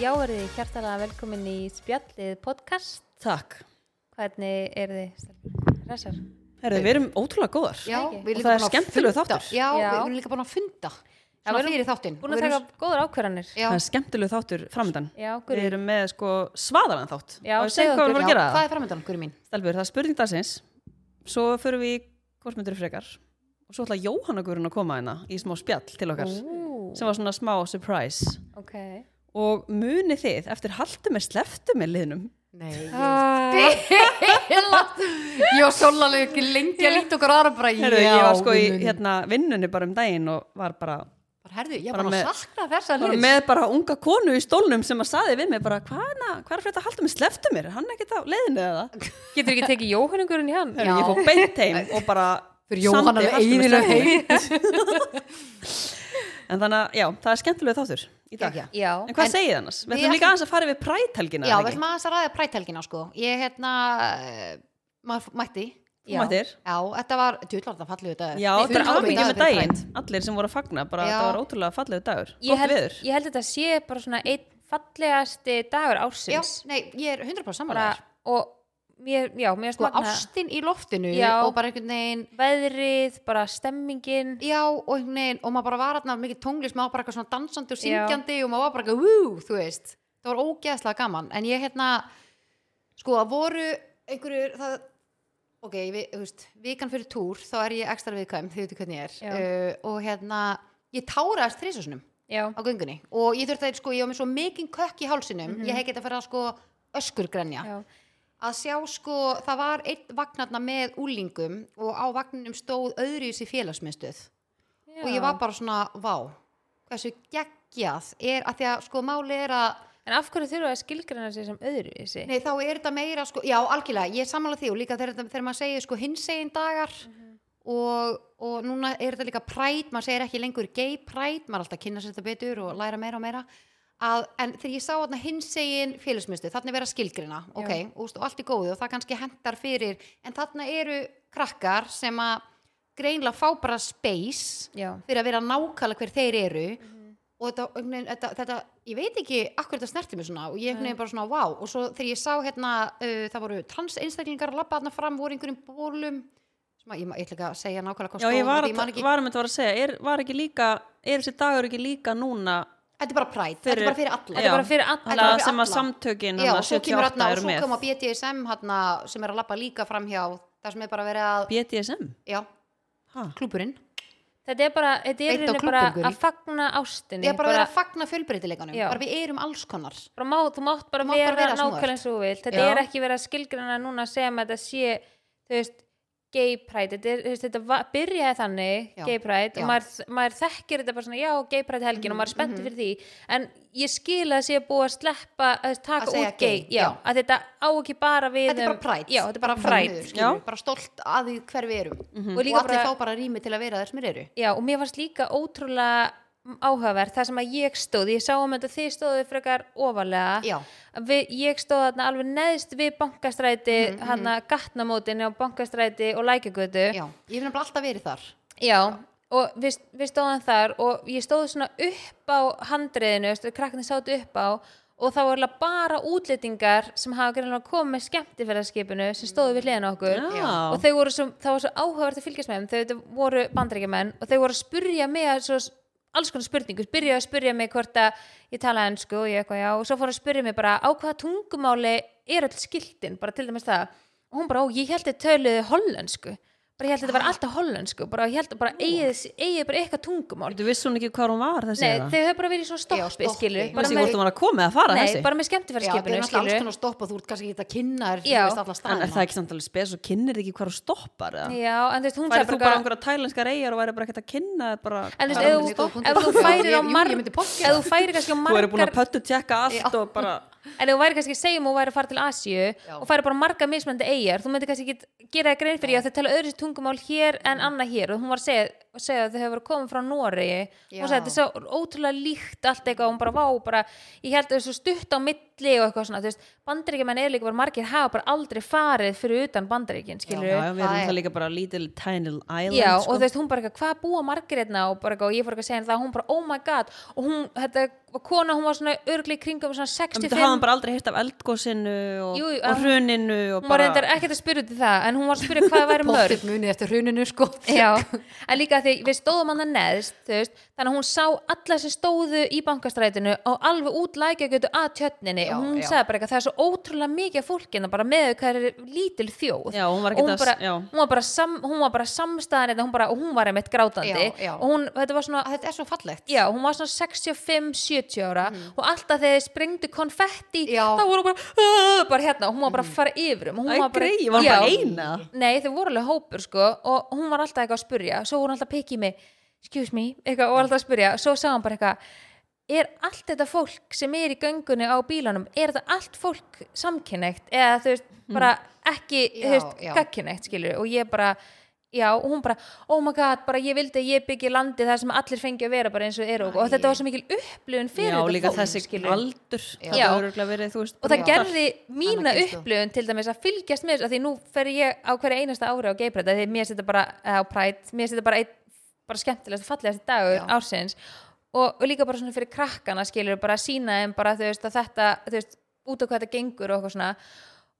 Já, eru þið hjartalega velkomin í spjallið podcast. Takk. Hvernig eru þið, stelpur? Hressar? Herðu, við erum ótrúlega góðar. Já, ekki? við Og það er erum líka búin að skemmtilegur funda. þáttur. Já, Já. við erum líka búin að funda við Svona erum fyrir þáttinn Búin Og að við taka erum- góðar ákvarðanir. Já. Það er skemmtilegu þáttur framöndan. Já, Við guri. erum með sko svaðalan þátt. Já, Og segðu segðu hvað við okkur. erum að Já, gera. hvað er framöndan, guri mín? Stelbur, það er spurning dagsins. Svo förum við í hvort myndir frekar. Og svo ætla Jóhanna Guðrun að koma hérna í smá spjall til okkar. Ú, Sem var svona smá surprise. ok. Og munið þið eftir haldu með sleftu með liðnum. Nei, Ah, ég var svolítið ekki lengi að líta okkur aðra bara í Herðu, ég var sko í hérna, vinnunni bara um daginn og var bara, Herðu, ég bara var bara með- að sakna þessa bara hlut með bara unga konu í stólnum sem að saði við mig bara hvað er hana- hvað er fyrir þetta haldu með sleftu mér? Er Hann ekkert á leiðinu eða? Getur ekki tekið jóhörningurinn í hann? Herru, ég fór beint heim og bara Fyrir Jóhann samdi alveg allt um eyðileg stefnu. En þannig að, já, það er skemmtilega þáttur í dag Gegja. Já. En hvað En- segið annars? Við Við ætlum líka ætlum- aðeins að fara við præthelgina Já, við ætlum aðeins að ræða præthelgina sko Ég, hérna, eh, maður mætti Já. Mættir Já, þetta var, djúlar þetta fallið þetta Já, þetta er ábyggjum með daginn Allir sem voru að fagna, bara Já. það var ótrúlega fallegu dagur Ég Gott held, viður ég held að þetta sé bara svona einn fallegasti dagur Já, ársins. nei, ég er 100% Bara, samanlega og mér, já, mér Sko, smakna ástin í loftinu Já. og bara einhvern veginn veðrið, bara stemmingin. Já, og einhvern veginn, og maður bara var hérna mikið tónlist, maður var bara eitthvað svona dansandi og Já. syngjandi og maður var bara eitthvað, wú, þú veist það var ógeðslega gaman, en ég hérna sko, það voru einhverju, það ok, við, þú veist, vikan fyrir túr, þá er ég ekstra viðkvæm, þið veitu hvernig ég Já. er uh, og hérna, ég táraðist þrísasunum Já. á göngunni og ég þurfti að, sko, ég var með svo mikinn kökk í hálsinum, ég hef getað að fara að sko öskurgrenja Mhm. Já. að sjá sko, það var einn vagnarna með úlingum og á vagninum stóð öðru í sér félagsmyndstöð og ég var bara svona, vá hversu geggjað er að því að sko máli er að, En af hverju þurfa að skilgreina sig sem öðruvísi? nei þá er þetta meira sko, já algjörlega, ég er sammála því og líka þegar, þetta- þegar maður segir sko hinsegin dagar og, og núna er þetta líka præt, maður segir ekki lengur gay præt, maður er alltaf að kynna sér þetta betur og læra meira og meira að, en þegar ég sá þarna hinsegin félagsmyndstöð, þarna er verið að skilgrina ok, Já. og, veist, og allt í góðu og það kannski hendar fyrir, en þarna eru krakkar sem að greinlega fá bara space Já, fyrir að vera nákvæmlega hver þeir eru Mhm. og þetta, einhvern veginn, þetta, þetta ég veit ekki akkur þetta snerti mig svona og ég einhvern veginn bara svona wow og svo þegar ég sá hérna uh, það voru trans einstaklingar að labba þarna fram voru í einhverjum bólum sem að ég, ma- ég ætla ekki að segja nákvæmlega hvað Já, ég stóð, var að, því sko, man ekki, var að mynda að segja er, var ekki líka, er þessi dagur ekki líka núna þetta er bara præt, þetta er fyrir- bara fyrir alla þetta er Já. bara fyrir alla. alla bara fyrir sem að alla. samtökin Já, hana, og svo 78 kemur hérna og eru svo með. koma BDSM hérna, sem er að labba líka fram hjá það sem er bara verið að, BDSM já, ha. klúburinn Þetta er bara, þetta er Beint á reyni klúbbinn, bara Guri. að fagna ástinni. ég er bara verið að fagna fjölbreytileikanum Já. bara við erum alls konar bara má, þú mátt bara Þú mátt bara vera, vera sem þú ert. nákvæmlega eins og þú vilt. Þetta Já. er ekki verið að skilgreina núna sem þetta sé, þú veist, gay pride. Þetta, er, þú veist, þetta va- byrjaði þannig, Já. gay pride, Já. Mhm, og maður, maður þekkir þetta bara svona, já, gay pride helgin og maður er spenntið fyrir því. En ég skil að það sé búið að sleppa, að taka Að segja út gay. gay, Já, já. að þetta á ekki bara við þetta er bara um- præt, Já, þetta er bara þannig, pride. Mhm. skilur, Já. bara stolt að því hver við erum Og og, líka allir bara- fá bara rými til að vera þess mér eru Já, og mér varst líka ótrúlega áhugaverð það sem að ég stóð, ég sá um þetta þið stóðu frekar ofalega Já. Að við, ég stóð þarna alveg neðst við bankastræti, mm -hmm. hann að gatnamótin á bankastræti og lækjagötu já, ég hef nefnilega alltaf verið þar Já, og við, við stóðum þar og ég stóð svona upp á handriðinu, veistu, krakkarnir sátu upp á og það voru eiginlega bara útlendingar sem hafa greinlega komið með skemmtifæðarskipinu sem stóðu við hliðina á okkur Já. og þau voru svo, það var svo áhugavert að fylgjast með þeim, þau þetta voru bandaríkjumenn og þau voru að spurja mig að svo alls konar spurningu, byrjaði að spurja mig hvort að ég tala ennsku og ég eitthvað já og svo fór að spurja mig bara á hvaða tungumáli er öll skiltin, bara til dæmis það og hún bara, ó, ég held þið töluðu hollensku bara ég held þetta var alltaf hollensku bara ég held bara eigið, eigið bara eitthvað tungumál Þú vissi hún ekki hvað hún var þessi Nei, eða? þau höfðu bara verið í svona Já, stoppi, stoppi. skilur Ég Bara bara með, hvort með, hún var að koma eða fara nei, þessi bara með já, það er skemmtifæra náttúrulega alls konar stopp og þú ert kannski ekki að kynna þér þú Já. veist alla En staðina er það ekki samt alveg spes og kynnir ekki hvað þú stoppar eða? já, en þú veist, hún Færi sagði þú bara á einhverja tælenskar eigjar og væri bara ekkert að kynna þér bara en þú Það er veist, mjög ef góð þú- punktur. ef þú færir á Jú, ég margar myndi pottþétt. ef þú færir kannski á Þú eru búin margar að pöttu tjekka allt Já. og bara en ef þú væri kannski, segjum og væri að fara til Asíu og færi bara marga mismöndi eigjar þú myndi kannski ekki gera það grein fyrir ég að þau tala öðru tungumál hér en annað hér og hún var að segja að segja að þau hefur komið frá Noregi Já. hún sagði þetta er svo ótrúlega líkt allt eitthvað og hún bara vá, bara, ég held að þessu stutt á milli og eitthvað svona, þú veist, bandaríkjumenn er líka bara margir hafa bara aldrei farið fyrir utan bandaríkin, skilur Já, já, við erum Það er- það líka bara little tiny island Já, sko. og þú veist, hún bara eitthvað, hvað búa margir hérna og bara eitthvað, og ég fór eitthvað að segja henni það, hún bara, oh my god og hún, þetta, var kona, hún var svona örgli kringum svona En 65 Þetta hafði hann bara aldrei hýrt af eldgósinu og, Jú, jú, og að- hruninu og hún var bara, reyndar ekkert að spyrja út í það en hún var að spyrja hvað væri mörg Pottið munið eftir hruninu sko Já, en líka því við stóðum hann að neðst þú veist, þannig að hún sá alla sem stóðu í bankastrætinu og alveg út lækjagötu að tjötninni Já, og hún já. sagði bara eitthvað það er svo ótrúlega mikið af fólkina bara með þau hvað er lítil þjóð Já, hún var og ekkert hún, að- bara, já. hún, var bara sam, hún var bara samstæðan hérna, hún, bara, og hún var einmitt grátandi Já, já. og hún, þetta var svona Að Þetta er svo fallegt Já, hún var svona 65-70 ára Mhm. og alltaf þegar þið sprengdu konfetti Já. þá voru hún bara, "Ah", bara hérna og hún var bara að fara yfir um Mhm. Æ, grey, var hún bara ein, eða? Nei, þau voru alveg hópur sko og hún var alltaf eitthvað að spurja svo voru hún alltaf að pikið mig, excuse me eitthvað, og var alltaf að spurja, svo sagði hún bara eitthvað er allt þetta fólk sem er í göngunni á bílanum, er þetta allt fólk samkynægt eða þú veist Mhm. bara ekki, Já, þú veist, já. gagkynægt skilur og ég bara, já, og hún bara oh my god, bara ég vildi að ég byggi landi þar sem allir fengi að vera bara eins og eru og, Æ. þetta var svo mikil upplifun fyrir já, þetta líka fólk, þessi skilurðu. aldur Já. það hefur örugglega verið, þú veist og það Já. gerði mína Annað kynslóð. upplifun til dæmis að fylgjast með þessu að því nú fer ég á hverja einasta ári á geipræta því mér setja bara eh, á præt mér setja bara, einn- bara skemmtilegast og fallegast dagur Já. ársins og, og líka bara svona fyrir krakkana skilur bara að sína þeim bara þú veist að þetta þú veist út á hvað þetta gengur og eitthvað svona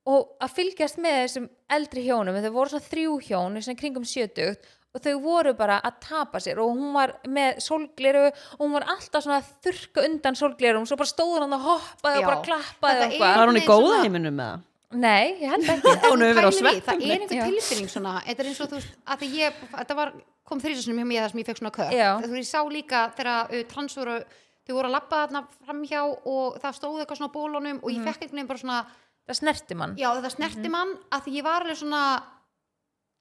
og að fylgjast með þessum eldri hjónum þau voru svona þrjú hjón svona kringum sjötugt og þau voru bara að tapa sér og hún var með sólgleru og hún var alltaf svona að þurka undan sólglerum svo bara stóður hann að hoppaði Já. og bara klappaði Þetta og er- eitthvað Var hún í Nei, góða svona- heiminum með það? Nei, ég held ekki Hún hefur verið á Pælir í, Það sveppum er einhver Já. tilfinning svona Þetta er eins og þú veist að því ég, Þetta var, kom þrísasunum hjá mér þar sem ég fekk svona kök Já. Þú veist, ég sá líka þegar uh, trans voru Þau voru að labba þarna framhjá og það stóð eitthvað svona á bólunum og ég Mhm. fekk einhvern veginn bara svona Það snerti mann Já, þetta snerti Mhm. mann að því ég var alveg svona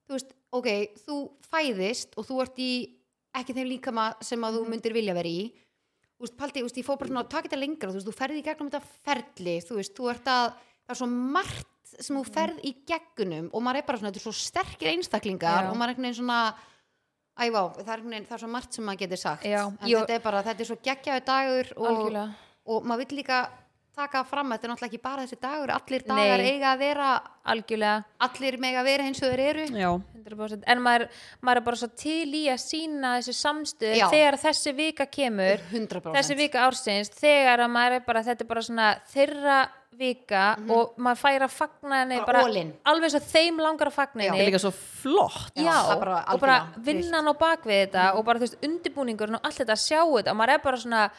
þú veist, ok, þú fæðist og þú ert í ekki þeim líkama sem Mhm. að þú myndir vilja vera í þú veist, paldi, þú veist, ég fór bara svona að taka þetta lengra þú veist, þú ferði í gegnum þetta ferli þú veist, þú ert að, það er svo margt sem Mhm. þú ferð í gegnum og maður er bara svona, þetta er svo sterkir einstaklingar Já. og maður er einhvern veginn svona ævá, það er, einhvern veginn, það er svo margt sem maður getur sagt Já, en ég- þetta er bara, þetta er svo geggjaðu dagur og, Algjörlega. og maður vill líka taka fram að þetta er náttúrulega ekki bara þessi dagur allir dagar Nei. eiga að vera Algjörlega allir mega vera eins og þeir eru Já, 100%. En maður, maður er bara svo til í að sína þessu samstöð Já. þegar þessi vika kemur 100% þessi vika ársins þegar að maður er bara, þetta er bara svona þeirra vika og maður fær að fagna henni Mhm. Bara bara, all in. alveg svo þeim langar að fagna Já. henni það er líka svo flott Já, það bara og bara algjörlega, Mhm. vinnan á bakvið þetta og bara þú veist undirbúningurinn og allt þetta að sjá þetta og maður er bara svona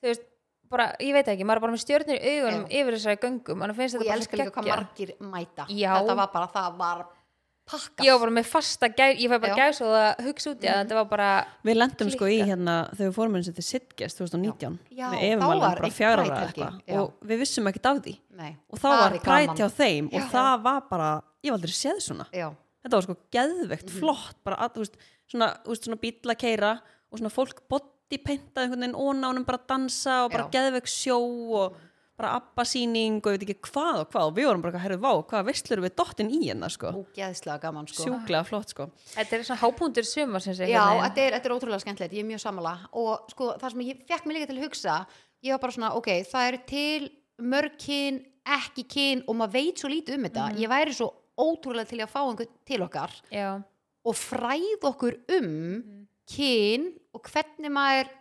þú veist, bara, ég veit ekki, maður er bara með stjörnir í augunum yfir þessari göngum mann finnst og þetta ég bara elska líka hvað margir mæta Já. þetta var bara, það var pakkað ég var bara með fasta gæs, ég fæ bara Já. Mhm. gæs og það hugsa út í að þetta var bara Við lendum sko í Klikka. hérna þegar við fórum eins og til Sitges 2019 Já, Við efum þá alveg var bara eitt fjara Pride ára helgi, eitthvað já. og við vissum ekkert af því Nei, og þá það var er præt gaman. hjá þeim Já. og það var bara, ég var aldrei séð svona já, þetta var sko geðvegt, Mm. flott bara að, þú veist, svona, þú veist, svona bíla keira og svona fólk bodypainta einhvern veginn ónánum bara að dansa og bara Já. geðveg sjó og bara abbasýning og ég veit ekki hvað og hvað og við vorum bara að herðu vá, hvað veistlur við dottin í hérna sko, ógeðslega gaman sko sjúklega flott sko þetta er svona hápúntur sumar sem sé Já, þetta er, þetta er ótrúlega skemmtilegt, ég er mjög samala og sko, það sem ég fekk mér líka til að hugsa ég var bara svona, ok, það eru til mörg kyn, ekki kyn og maður veit svo lítið um þetta ég væri svo ótrúlega til í að fá einhvern til okkar já, og fræð okkur um kyn og hvernig maður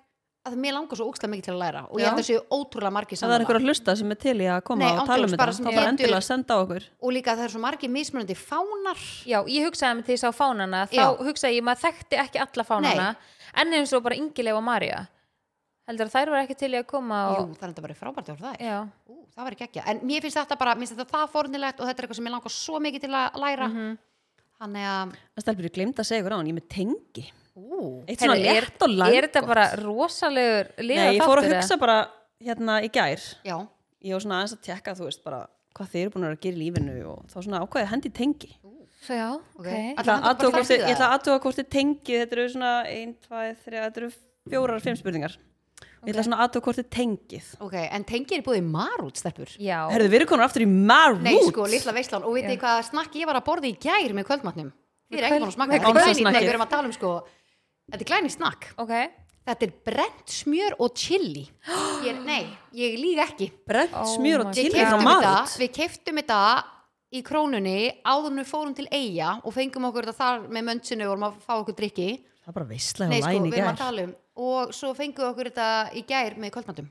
að mér langar svo ógstlega mikið til að læra og ég Já. held að séu ótrúlega margir ef það er saman einhver að hlusta sem er til í að koma Nei, og tala um ángjóns, þetta bara þá sem bara getur- endilega að senda á okkur og líka það eru svo margir mismunandi fánar já, ég hugsaði með því sá fánana þá Já. hugsaði ég, maður þekkti ekki alla fánana enn eins og bara Ingileif og Marja heldur að þær var ekki til í að koma Jú, og, það er þetta bara frábært að það er já, Ú, það var ekki ekki, en mér finnst þetta bara mér finnst þetta það fornilegt og þetta er eitthvað sem ég langar svo mikið til að læra þannig að, en stelpur, ég glemt að segja ykkur á hann, ég er með tengi ú, eitt svona Herri, létt og langt sko. er þetta bara rosalegur liða Nei, ég fór að hugsa bara hérna í gær já, ég var svona aðeins að tekka, þú veist, bara hvað þið eru búin að vera að gera í lífinu og þá svona ákvæði hendi tengi ég já, ok, ok Ætli ætla hann að bara athuga fram hvort þið- ég í það? ætla að aðtuga hvort þið tengi þetta eru svona 1, 2, 3, þetta eru fjórar, fimm spurningar ég ætla svona að aðtuga hvort þið tengið ok, en tengir er búið í marút stelpur já herðu, við erum konar aftur í Marút nei, sko, litla veislan, og veitir hvað snakk ég var að borða í gær með kvöldmatnum, þið er ekki búin að Með smakka kvöld- kvöldmatnum, Ánsa nei, snakkið. við erum að tala um sko Þetta er glæni snakk. ok, Þetta er brent smjör og chili. Ég, nei, ég líg ekki. brent Oh smjör my og god. Við chili frá keftum þetta, mat við keftum þetta í krónunni áður en við fórum til eiga og fengum okkur þetta þar með mönnsinu og vorum að fá okkur drikki. það er bara veistlega Nei, og sko, læn í við erum að gær tala um. Og svo fengum við okkur þetta í gær með kvöldmatum.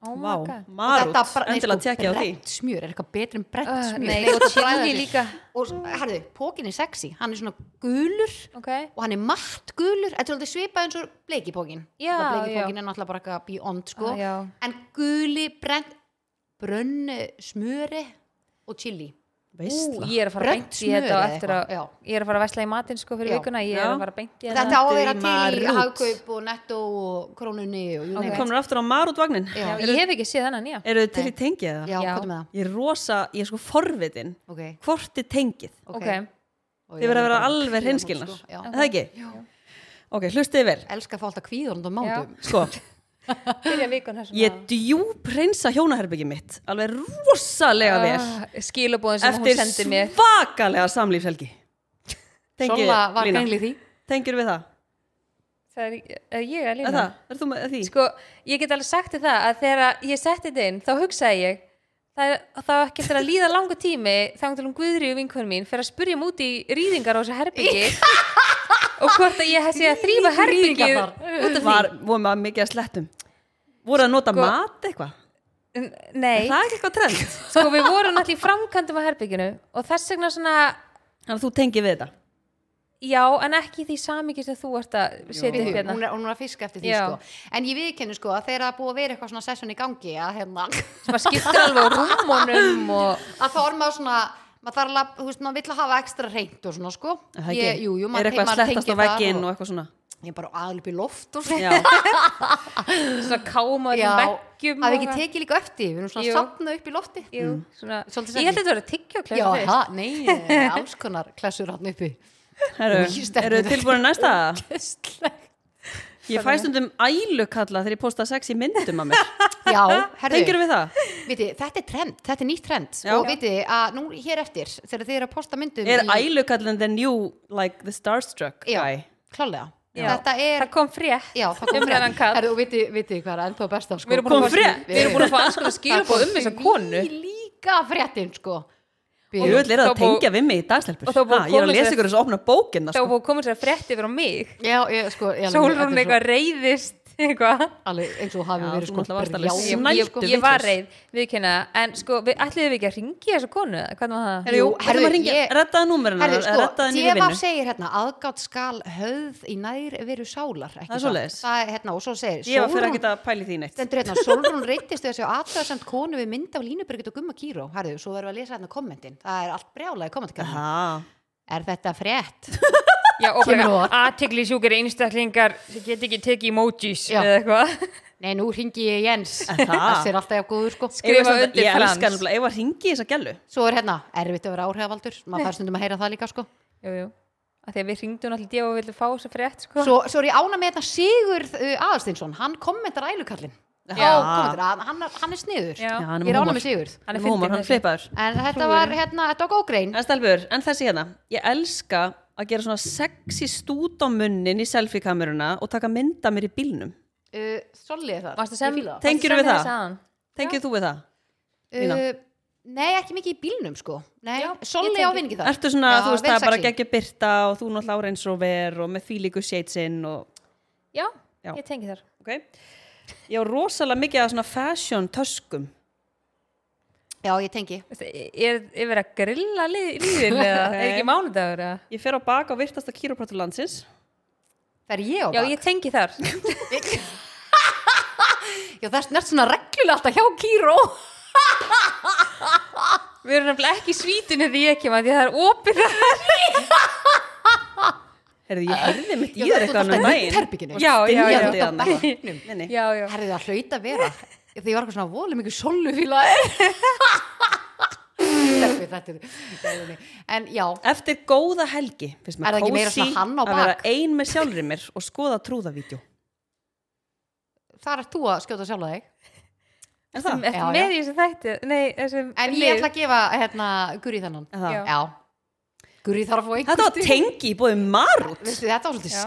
oh um my Vá, god marút, bara- nei, endilega sko, tekja á því Brent smjör, er eitthvað betur en brent Uh, smjör. nei, Nei, og þetta bræða chili sig. líka Og, herðu, pókin er sexy, hann er svona gulur ok, og hann er matt gulur, þetta er aldrei svipað eins og bleikipókin. Já, Bleikipókin er náttúrulega bara eitthvað beyond, sko. Á, já. En guli, brent, brönn smjöri og chili. Ú, veistla ég er að fara Brennt beint í þetta á smjör eða eftir að eitthvað, já. ég er að fara að vesla í matinn sko fyrir Já. vikuna ég er Já. að fara beint í Þetta á að vera til Marút. í hagkaup og netto og krónunni og Ok. júnum. komur aftur á marútvagnin Já. Já, ég hef ekki séð þennan, já. eru þið til í tengið það? Já, Já. hvað er með það? ég er rosa, ég er sko forvitin Ok, hvort þið tengið Ok, Og þið verða að ég er vera bara- alveg Já, hreinskilnar sko, já. Er það ekki? Já. ok, hlustið vel Elska að fá alltaf kvíður undan mándum. sko, byrja vikun þessum ég djúp reynsa hjónaherbyggi mitt alveg rosalega Ah, vel Skilabóðin Ah, sem eftir hún sendi mér svakalega samlífshelgi Tengi- Sola var Lína, gengli því. tengir við það? Það er eh, ég að Er lína það? Er þú með því? Sko, ég get alveg sagt þér það að þegar ég setti þetta inn, þá hugsaði ég það er, þá ekki eftir að líða langu tími þá til hún guðri og vinkunum mín fyrir að spurja múti í rýðingar á þessu herbyggi og hvort að ég sé að þrýfa herbyggið Rýðingarnar. út af því var, voru maður mikið að slettum voru að Sko- nota mat eitthvað N- er Nei, það ekki eitthvað trend sko við vorum náttúrulega í framkvæmdum á herbygginu og þess vegna svona þannig að þú tengir við þetta Já, en ekki í því samíki sem þú ert að setja upp Jú, hérna. Hún er, hún er að fiska eftir því Já. sko. En ég viðkennu sko að þegar það er búið að vera eitthvað svona sessun í gangi að, hérna, Sem að skiptir alveg á rúmunum og... að þá er maður svona maður þarf alveg, þú veist, maður vill að hafa ekstra reynd og svona sko. Er það ekki? Ég- Jú, jú, er maður eitthvað að maður slettast á tengir það vegginn og eitthvað svona Ég er bara aðlupi loft og svona. já, Svona káma Já, öllum veggjum hafi ekki tekið líka eftir, við erum svona Jú. að sapna upp í lofti. Jú, svona... Svolítið Ég held að þetta voru Já, tyggjóklefur ha, nei, alls konar klessur hann uppi. eru Jú, ég stefni eru þetta. tilbúin næsta Gæstlegt. ég fæ stundum ælukalla þegar ég posta sex í myndum að mér Já, herðu, tengir við það? viti, þetta er trend, þetta er nýtt trend Já. og viti að nú hér eftir þegar þið eru að posta myndum er í, ælukallin the new like the starstruck já, guy klálega, Já. þetta er Það kom frétt. já, það Um kom þennan frétt, kall. herðu, og viti, viti hvað er ennþá besta sko, Við erum búin Kom að fá- frétt? Við erum búin að fá alls konar skilabóð um þessa konu. Í líka fréttin sko Ég vil er Þá það að búið- tengja við mig í dagstelpur og þá búið Ha, Ég er að komið lesa sér- ykkur þessu opna bókinna Þá sko. búið komið sér frétt yfir á mig. Já, ég, sko, ég, alveg- þetta Sólrún er svo- eitthvað reyðist, eitthvað. alveg eins og hafi Já, verið þú sko náttúrulega varst alveg brjálað. Ég, Snældu ég, ég var vitlaus. reyð, viðkynna það. En sko, við, ætliðum við ekki að ringi þessu konu? eða Hvernig var það? Herru, jú, Jú, herru, herru, maður ringja, ég- rettaða númerinu Herðu, sko, Rettaða nýri Deva vinnu segir hérna aðgátt skal höfð í nær veru sálar ekki Það er satt? svoleiðis. Það er, hérna, og svo segir Ég var fyrir Sólrún- að geta að pæli því neitt Stendur hérna, Solrún reytist þessu aðtöðasemt konu við mynd af Línubyrgit og Gumma Kíró. Herðu, svo verðum við að lesa hérna kommentin. Það er allt brjálega í kommentkæðinu. Aha. Er þetta frétt? Já, og Kemur á bara óvart. aðtegli sjúkir einstaklingar sem get ekki tekið emojis Já. eða eitthvað. Nei, nú ringi ég Jens. Er það? Það er alltaf jafn góður, sko. Skrifa Ef ég samt- undir Ég Frans. elskar nefnilega, ef að ringi þess að gælu Svo er hérna, erfitt að vera áhrifavaldur. Maður fær stundum að heyra það líka, sko. Jú, jú. Af því að við ringdum allir djöf og vildum fá þessu frétt, sko. Svo, svo er ég ána með þetta Sigurð uh, Aðarstinsson. Hann kommentar ælukallin. Já. Já. Kommentar, að- hann, er- hann er sniður. Já. hann Ég er ána húmor. með Sigurð. Hann er Hann er húmor, fyndinn, hann er þessi. flipaður En þetta var, hérna, þetta var góð grein. En stelpur, en þessi hérna Ég elska að gera svona sexy stút á munnin í selfie-kameruna og taka mynda mér í bílnum Uh, Solið það. Varstu sem, Ég fíla það. Tengirðu við það? það? Tengið þú við það? Lína? Uh, nei, ekki mikið í bílnum sko Nei, Já, Solli ég á tengi. vinningi það Ertu svona, Já, þú veist, vel það er bara sexy. geggja byrta og þú náttúrulega áreins og ver og með því líku shadesinn og Já, Já. ég tengi þar. ok ég á rosalega mikið að svona fashion töskum Já, ég tengi Veistu, Er, er verið að grilla lið- líðin eða er Nei. ekki mánudagur eða? ég fer á bak á virtasta kýróprátur landsins Það er ég á Já, bak ég tengi þar. Já, það er snert svona reglulega alltaf hjá Kíró Við erum nefnilega ekki í svítunni þegar ég kem að því að það er opið þar. heyrðu, ég heyrði mitt í Já, þér þú ert eitthvað alltaf annað í herberginu. daginn Já, já, já. Dynjandi Þú ert á þarna. bekknum. Nei, nei. Já, já. Herðu það hlaut að vera Því ég var eitthvað svona volið mikið Sollu fíla Stelpi, þetta er- þetta er En já, eftir góða helgi finnst Er það mér ekki meira kósí svona hann á að vera bak? ein með sjálfri mér og skoða trúðavídjó þar er þú að skjóta sjálfa þig er það? Eftir Já, já. með í þessu þætti. Nei, þessum En ég ætla að gefa hérna Guri þennan Er það? Já. Já Guri þarf að fá einhver þetta var tengi í bóðið marút Veistu, þetta var svolítið Já.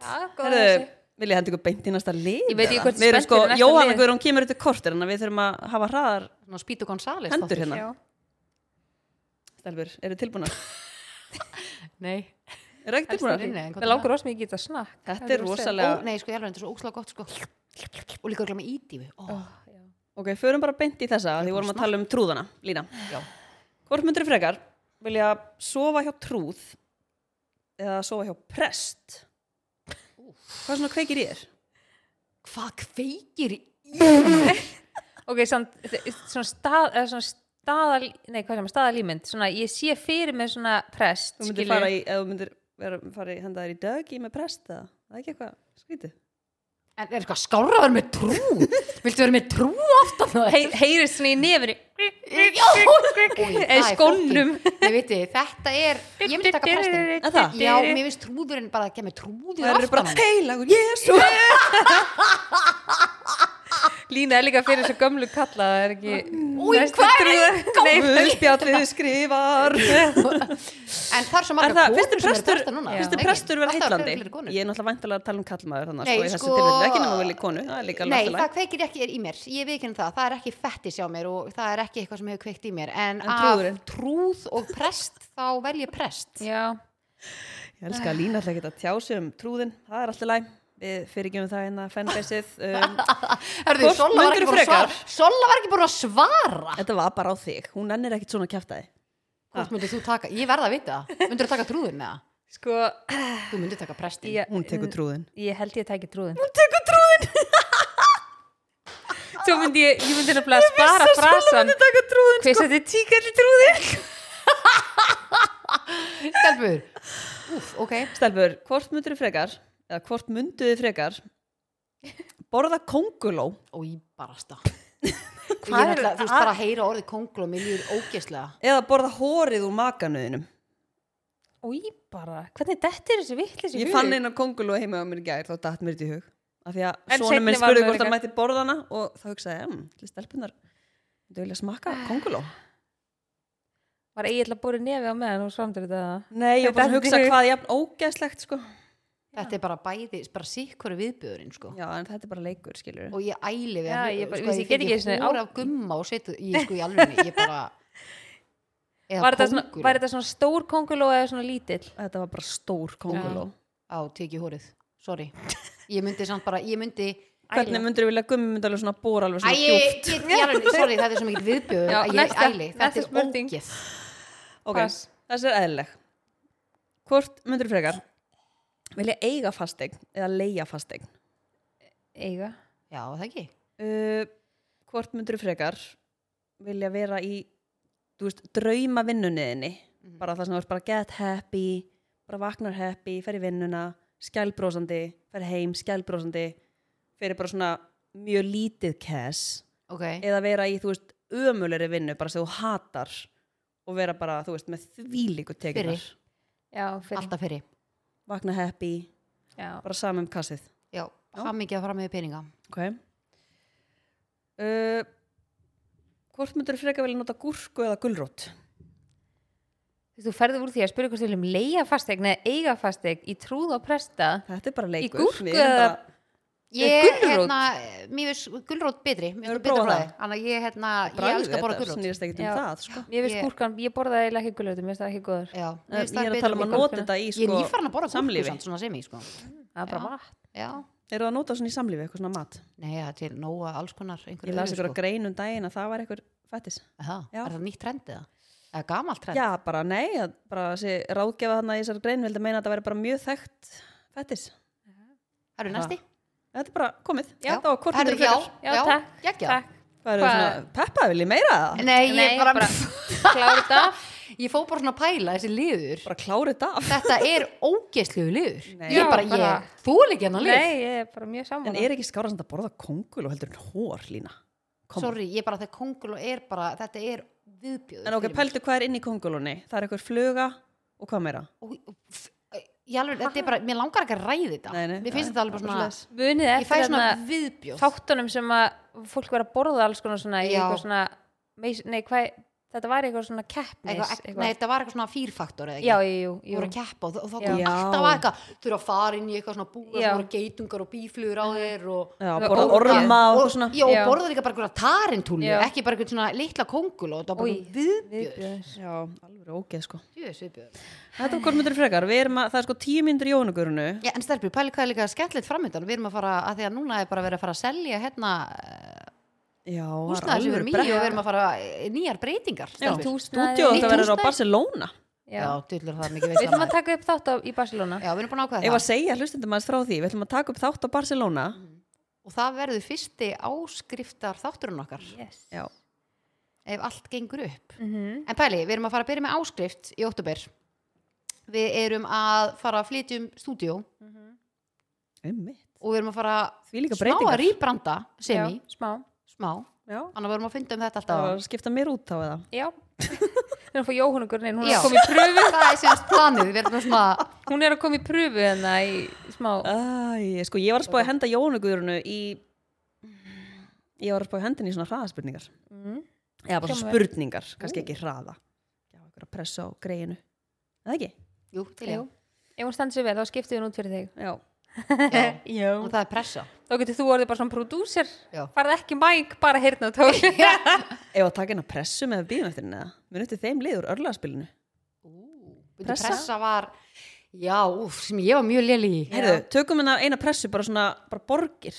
skemmtilegt Já, góða Herðu, þessi. vil ég henda ykkur beint í næsta lið Ég veit ekki eða? hvort Við erum spennt sko, fyrir næsta Jóhanna lið. Guðrún kemur eftir kortir en við þurfum að hafa hraðar Ná, Spítu González hendur hérna Já. Stelbur, eru tilbúnar? Nei, Eru ekki tilbúnar? Við langar rosa mikið í þetta snakk Þetta Heldur þú er að segja? rosalega Nei, sko, ég alveg, þetta er svo ókslega gott sko. Og líka örugglega með ídífu Ó, Ok, förum bara beint í þessa af því vorum að tala um trúðana, Lína já. Hvort myndur frekar vilja sofa hjá trúð eða sofa hjá prest Hvað svona kveikir í þér? Hvað kveikir í Ok, samt, þ- svona, stað, eða svona staðal Nei, hvað sem er staðalímynd Svona, ég sé fyrir með svona prest Þú myndir skilur. fara í, eða þú myndir vera, fara í henda þér í dögi með prest eða, það er ekki eitthvað skrítið En er eitthvað skárra að vera með trú Viltu vera með trú aftan það? Hey, Heyrist svona í nefri Eða Eða í skónum Nei, veitu, þetta er, ég myndi taka prestin En það? Já, mér finnst trúðurinn bara að gera með trúður Það eru aftan bara hann. heilagur, jésu Lína er líka fyrir þessu gömlu kalla Það er ekki Új, hvað er Guðspjallið skrifar En það er svo Er marga það, finnst konur sem þið eru prestur, prestar núna finnst þið Nei, prestur vera alltaf heillandi? fleiri konur. Ég er náttúrulega væntalega að tala um kallmaður þannig Nei, sko, í þessu sko- tilfelli, ekki nema vilja konu, það er líka Nei, alveg það allt í lagi. kveikir ekki í mér, ég viðkynna það, það er ekki fettis hjá mér og það er ekki eitthvað sem hefur kveikt í mér En, trúðurinn? af trúð og prest, þá vel ég prest Já, Ég elska að Lína alltaf geta að tjá sig um trúðin, það er alltaf læg, við fyrirgjum það hérna fanbaseið, um, Hörðu, Hvort Sola var myndirðu ekki búin að frekar? svara Sola var ekki búin að svara þetta var bara á þig, hún ennir ekkit svona kjæftæði. Hvort myndir þú taka, ég verða að vita það Myndir þú taka trúðin eða? sko Þú myndir taka prestin ég, Hún tekur trúðin. ég held ég tæki trúðin Hún tekur trúðin Svo myndi ég, ég myndi nefnilega spara frasan taka trúðin. Hver setti tíkall í trúðin? Stelbur, úf, ok Stelfur, hvort myndur þið frekar, eða hvort mynduð þið frekar, borða konguló? og ég barasta ég Hvað er- náttúrulega, þú veist bara að heyra orðið kongul og mér líður ógeðslega Eða borða hórið úr makanuðinum. Új bara, hvernig dettir þessu vittlis Ég fann eina konguló heima á mér í gær, þá datt mér þetta í hug. Af því að En svona minn seinni var spurði hvort möguleikar. hann mætti borðana og þá hugsaði, em, til stelpunar, þú vilja smakka konguló? Var eiginlega búið nefi á meðan og samdur þetta Nei, ég var bara Þetta að hugsa er- hvað er jafn ógæslegt, sko. þetta er bara bæði, bara sikkur viðbjöðurinn sko. Já, en þetta er bara leikur, skilur og ég æli við Já, að- ég bara- sko, vissi, ég ég get ekki einu fengi sinni hór á- af gumma og setu ég sko í alveg ég bara eða Var þetta svona, kónguló. var þetta svona stór konguló eða svona lítill? Þetta var bara stór konguló. á teki hórið, sorry ég myndi samt bara, ég myndi Hvernig myndur þú vilja gummi mynda alveg svona bóra alveg Æ, svona ég, djúpt? ég, ég, alveg- sorry, þetta er svo mikið viðbjöður Já, að ég næsta- æli, næsta þetta er spurning. ógeð Ok, Pass. þessi er eðlileg. Hvort myndur þú frekar? Vilja eiga fastegn eða leia fastegn? Eiga já, það ekki Uh, hvort myndur þú frekar? Vilja vera í, þú veist, drauma vinnunniðinni? Bara það sem þú ert bara get happy, bara vaknar happy, fer í vinnuna, skælbrósandi, fer heim, skælbrósandi, fer í bara svona mjög lítið cash. ok, eða vera í, þú veist, ömulegri vinnu bara sem þú hatar og vera bara, þú veist, með þvílíku tekinar Fyrir. Já, fyrir alltaf fyrir vakna happy, Já. bara saman um kassið já, hamingið að fara með peninga ok uh, hvort myndur freka vilja nota gúrku eða gulrót Þú ferður úr því að spyrja hvort þú viljum leiga fastegn eða eiga fastegn í trúð og presta þetta er bara Í leikur gúrku Við erum eða- bara, Ég, Gulrót? hérna, mér finnst gulrót betri Mér Hefurðu finnst betra prófað bræði það? Þannig að ég, hérna, ég bragðið elska bara þetta, gulrót Já, snýrist ekkert Já. um það sko. Ég veist Ég- gúrkan, ég borðaði eiginlega ekki gulötu, mér finnst það ekki góður mér ég finnst það er að betra tala um með að gúrkuna. nota þetta í Ég er sko, nýfarn að borða gúrku samlífi. samt svona sem ég sko Það er bara vatn Já, eru það nota svona í samlífi, eitthvað svona mat nei, það er til nóga alls konar einhverju ég las öðru, ykkur að grein um daginn að það var eitthvað fættis Aha, Já. Er það nýtt trend eða? Eða gamalt trend? Já, bara nei, að bara þessi ráðgefa þarna í þessari grein vildi meina að þetta væri bara mjög þekkt fettis. Það eru næsti? Þetta er bara komið. Það var hvort Herru, myndir fyrir. Já, Já, já, takk. geggjað. Takk Það eru Hvað? svona, Peppa vil ég meira það. Nei, ég bara, Klára þetta ég fó bara svona að pæla þessi liður Bara klárið þetta af. Þetta er ógeðslegu liður Nei. Ég Já, bara, bara- ég, þú er ekki hennar lið Nei, ég er bara mjög En saman er ekki skára samt að borða kongul og heldur en hór lína? Kom. Sorry, ég bara, þegar kongul er bara, þetta er viðbjöður En ok, pældu hvað er inn í kongulunni? Það er eitthvað fluga og hvað meira? og, og, f- ég alveg, þetta er bara, mér langar ekki að ræði þetta Nei, nei, mér nei, finnst þetta alveg það er bara bara svona Munið ég fæ eftir hérna svona þarna viðbjóð þáttunum sem að fólk verið að borða alls konar svona í Já. eitthvað svona meis, nei, hvað, þetta var eitthvað svona keppnis eitthvað, nei, þetta var eitthvað svona fýrfaktor eða ekki já, jú, jú, Þú jú. voru að keppa og, þ- og þá Já. kom Já. alltaf að eitthvað þurfa að fara inn í eitthvað svona búða Já. sem voru geitungar og bíflugur á þér og Já, Þú- borða og- orma og eitthvað svona. já, og Já. borða líka bara einhverja tarintúlu Já. ekki bara einhvern svona litla kóngul og þetta var Új, bara viðbjör viðbjöður. Já, alveg ógeð sko. Djöfull viðbjör. Þetta var hvort myndur frekar, við erum að, það er sko tíu myndur í ónugurinu. Já, en stelpur, pæli hvað er líka skemmtilegt framöndan við erum að fara, að því að núna er bara verið að fara að selja hérna Já, húsnaðar sem við erum í og við erum að fara eh, nýjar breytingar stelpur. Stúdíu Nýtt þetta verður á húsnæði. Barcelona. já. Já, dýllur það er mikið við ætlum að veist taka upp þátt á, í Barcelona Já, við erum búin að Ef ákveða að það Mm. segja hlustendum aðeins frá því, við ætlum að taka upp þátt á Barcelona. og það verður fyrsti áskriftar þátturinn okkar yes. Já, ef allt gengur upp mm En Pæli, við erum að fara að byrja með áskrift í óttúber. Við erum að fara að flytja um stúdíó og ummitt. við erum að fara Því líka smá að breytingar. rýbranda semi, smá smá. Já, Þannig að við erum að funda um þetta það alltaf. var að skipta mér út á það. já við erum að fá Jóhann okkur hún er Já. að koma í pröfu Það er semst planið, við erum að svona, hún er að koma í pröfu hérna í smá Æ, sko, ég var að spá að henda Jónugurinu í, ég var að spá að henda henni í svona hraðaspurningar. mm. Eða bara Hljómar svona vel. spurningar, kannski ekki hraða. Já, einhverja pressa á greinu. Eða ekki? jú, til ég. Jú. ef hún standur sér vel þá skiptum við hún út fyrir þig Já. Já. já. Og það er pressa. þá getur þú orðið bara svona prodúser Já. farð ekki mæk, bara hérna og tól Ef að taka henni pressu með bíðum eftir henni eða? Munu eftir þeim liður örlaðspilinu. Bíddu, Pressa? Pressa var, já, úf, sem ég var mjög léli í. Herðu, tökum henni eina pressu bara svona, bara borgir.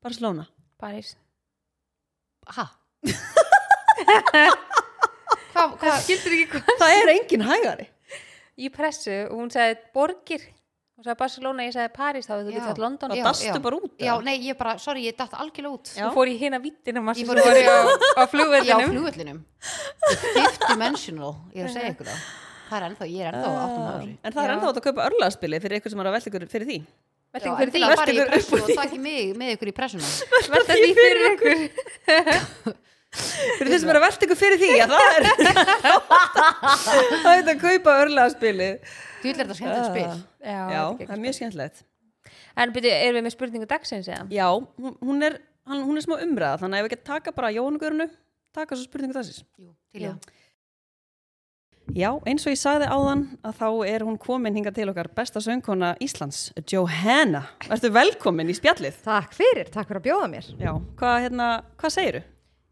Barcelona. París Hæ? Hvað, hvað, skildur ekki hvað Það er engin hægari. í pressu og hún sagði borgir hún sagði Barcelona, ég sagði París þá hefði þú Já. getið hatt London Það Já, dastu já. bara út. já, eða? nei, ég bara, sorry, ég datt algjörlega út. Já. hún fór í hina vittina Ég sem fór þú í fór á, á Já, flugvellinum flugvöllinum Fifth dimensional, ég er að segja ykkur það Það er ennþá, ég er ennþá uh, áttum ári En það Já. er ennþá hægt að kaupa örlaðspili fyrir ykkur sem er að velta ykkur fyrir því. velta ykkur fyrir því Það fari Veltu ykkur upp í pressu úr og því. takki mig með ykkur í pressuna velta því fyrir ykkur Fyrir þeir sem er að velta ykkur fyrir því, já það er Það er að kaupa örlaðspili. Þú vil er þetta skemmt að spil já, þetta er Já, það er geggjað. mjög skemmtilegt. en byrju, erum við með spurningu dagsins eða? Já, hún- hún er, hann, hún er smá umræða, þannig að ef við getum taka bara Jónugurinu, taka svo spurningu þessist. Jú, til já Já, eins og ég sagði áðan að þá er hún komin hinga til okkar besta söngkona Íslands, Johanna. Vertu velkomin í spjallið. Takk fyrir, takk fyrir að bjóða mér. Já, hvað, hérna, hvað segiru?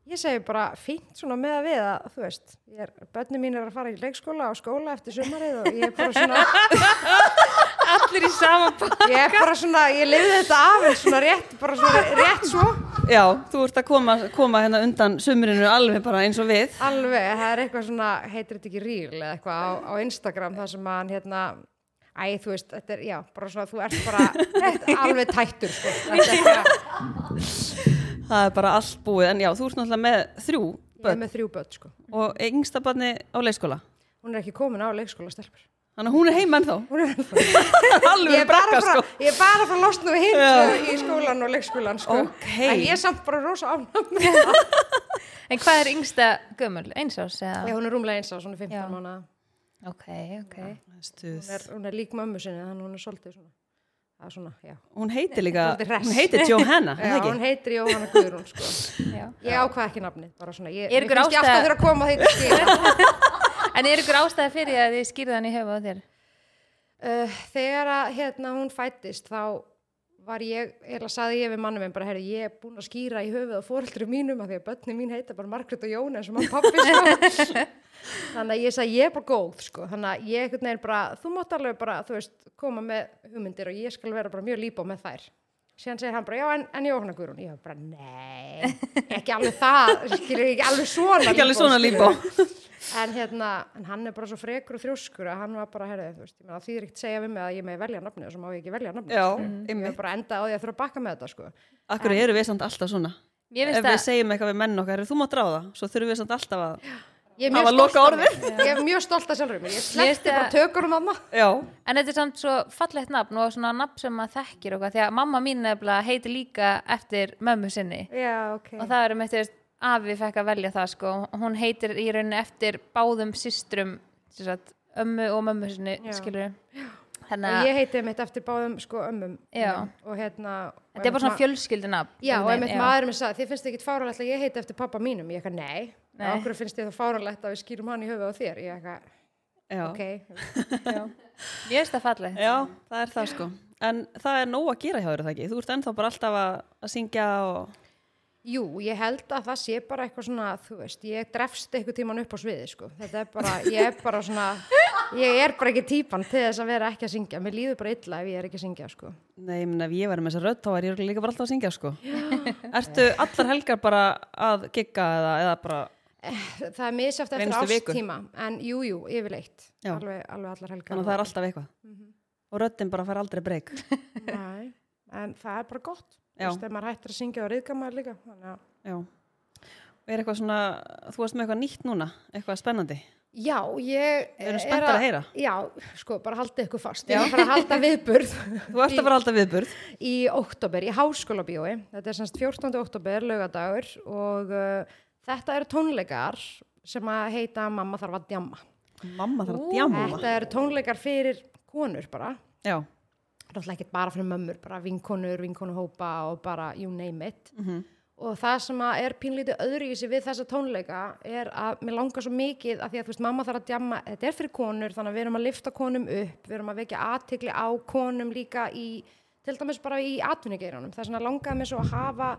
Ég segi bara fínt svona með að við að, þú veist, ég er, bönni mín er að fara í leikskóla og skóla eftir sumarið og ég er bara svona, allir í sama bá ég er bara svona, ég lifði þetta af en svona rétt, bara svona rétt svo. Já, þú ert að koma, koma hérna undan sumrinu alveg bara eins og við. Alveg, það er eitthvað svona, heitir þetta ekki ríl eða eitthvað á, á Instagram þar sem að hann hérna, æ, þú veist, þetta er, já, bara svona, þú ert bara þetta er alveg tættur, sko. Þetta er bara, Það er bara allt búið, en já, þú ert náttúrulega með þrjú ég er börn með þrjú börn, sko. og yngsta barni á leikskóla. Hún er ekki komin á leikskóla, stelpur. Þannig að hún er heima ennþá. Hún er ennþá. ég er alveg bara brakka, frá, sko. ég er bara frá losnu hinn Já. sko, í skólan og leikskólan sko. Ok. en ég er samt bara rosa ánum en hvað er yngsta gömul, eins ás já, eða? hún er rúmlega eins á svona 15 Já. mánu hún ok, ok Stuð. er, hún er lík mömmu sinni þannig hún er svolítið svona, það er svona já. Hún heitir líka, Svolítið hress. hún heitir Johanna, er Já, það hún ekki? heitir Jóhanna Guðrún sko. já. ég ákvað ekki nafnið bara svona, Er ég, mér ykkur finnst ég ástæða- alltaf þurfa að koma því til skil en er ykkur ástæða fyrir því að þið skýrði hann í höfu á þér Uh, þegar að hérna hún fættist þá var ég, eða saði ég við mannum minn bara, herri, ég er búin að skýra í höfuð á fóreldrum mínum að því að börni mín heita bara Margrét og Jón eins og mann pappi sko. þannig að ég sagði ég er bara góð sko. þannig að ég einhvern veginn bara, þú mátt alveg bara þú veist, koma með hugmyndir og ég skal vera bara mjög lípa með þær síðan segir hann bara, já en, en Jóhanna Guðrún ég var bara, nei, ekki alveg það skilur ekki alveg svona Ekki alveg svona skilurðu." líbó. en hérna, en hann er bara svo frekur og þrjóskur að hann var bara, herðu, þú veist, ég meina, þýðir ekkert segja við mig að ég með velja nafnið og svo má ég ekki velja nafnið. sko. Já, Ég ymmið. hef bara endað á því að þurfa að bakka með þetta, sko. Akkur eru við samt alltaf svona? ég Ef finnst við að segjum eitthvað við menn okkar, "Heyrðu, þú mátt ráða, svo þurfum við samt alltaf að... Ég er Það mjög var stolt af lokaorðið. mér. Ég er mjög stolt af sjálfur mér. Ég finnst sleppti bara að- tökurum mamma. Já. En þetta er samt svo fallegt nafn og svona nafn sem maður þekkir okkar því að mamma mín nefnilega heitir líka eftir mömmu sinni Já, ok. og það er um eftir afi fekk að velja það sko og hún heitir í rauninni eftir báðum systrum sem sagt, ömmu og mömmu sinni Já. skilur þannig að Og ég heiti mitt eftir báðum, sko, ömmum. Já. mínum. Og hérna... og þetta er bara einmitt svona fjölskyldunafn ma- Já, og einhvern einmitt veginn, maður með sagði, þið finnst ekki fáralegt að ég heiti eftir pappa mínum. Ég ekki, nei, Nei. okkur finnst þið þá fáranlegt að við skýrum hann í höfuð á þér ég eitthvað, já. ok já. Mér finnst það fallegt. já, það er það sko en það er nóg að gera hjá þér er það ekki þú ert ennþá bara alltaf að, að syngja og jú, ég held að það sé bara eitthvað svona þú veist, ég drefst eitthvað tíman upp á sviði sko. þetta er bara, ég er bara svona ég er bara ekki típan til þess að vera ekki að syngja mér líður bara illa ef ég er ekki að syngja sko. Nei, ég meina ef ég væri með þessa rödd þá er ég örugglega líka bara alltaf að syngja sko Ertu allar helgar bara að gigga eða, eða bara Eh, það er misjátt eftir Einustu viku. ástíma en jú, jú, yfirleitt Já. alveg, alveg allar helgar þannig að það er alltaf eitthvað Mhm. og röddin bara fær aldrei breyk Nei, en það er bara gott Þú Já. veist, ef maður hættir að syngja og reyðka maður líka þannig að Já Og er eitthvað svona, þú varst með eitthvað nýtt núna eitthvað spennandi Já, ég Við erum spenntar að heyra. Já, sko, bara haldið ykkur fast Ég er að fara að halda viðburð Þú ert að fara alltaf viðburð í oktober, í háskóla bíói Þetta er semst 14. oktober, laugadagur og uh, þetta eru tónleikar sem að heita Mamma þarf að djamma Mamma þarf að djama Þetta eru tónleikar fyrir konur bara Já, náttúrulega ekkert bara fyrir mömmur, bara vinkonur, vinkonuhópa og bara you name it. Og það sem að er pínlítið öðruvísi við þessa tónleika er að mér langar svo mikið að því að þú veist, mamma þarf að djamma, þetta er fyrir konur, þannig að við erum að lifta konum upp, við erum að vekja aðtikli á konum líka í, til dæmis bara í atvinnugeiranum. Það er svona langaði mér svo að hafa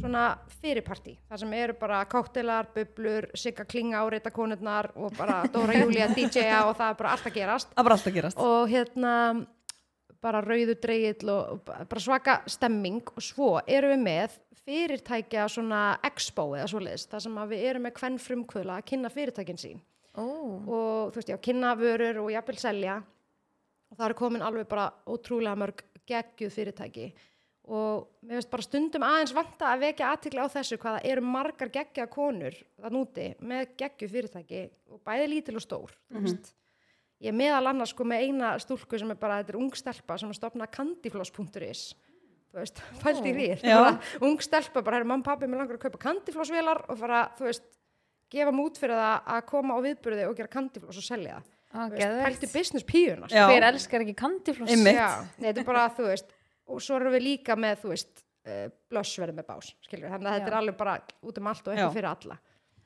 svona fyrirparti, það sem eru bara káttelar, bublur, sigga klinga áreita konurnar og bara Dóra Júlia DJ-a og það er bara allt að gerast það er bara alltaf að gerast og hérna bara rauðu dreigill og og ba- bara svaka stemming og svo erum við með fyrirtækja svona expo eða svoleiðis, það sem að við erum með hvern frumkvöla að kynna fyrirtækin sín Ó, og þú veist, já, kynna vörur og jafnvel selja og það eru komin alveg bara ótrúlega mörg geggjuð fyrirtæki og mér finnst bara stundum aðeins vanta að vekja aðtikla á þessu hvað það eru margar geggja konur það núti með geggjuð fyrirtæki og bæði lítil og stór mm -hmm. ég er meðal annars sko með eina stúlku sem er bara, þetta er ung stelpa sem er stopnað kandifloss.is þú veist, fælt í því Já. Bara ung stelpa, bara, herri, mann pappi mér langar að kaupa kandiflossvélar og fara, þú veist gefa mút fyrir það að koma á viðburði og gera kandifloss og selja á, það Þú veist, ah, geðveikt. pæltu business píuna sko. Já. Hver elskar ekki kandifloss? Einmitt. Já, nei, þetta er bara þú veist og svo erum við líka með þú veist uh, blöss verður með bás, skilur við þannig að þetta Já. er alveg bara út um allt og Já. eitthvað fyrir alla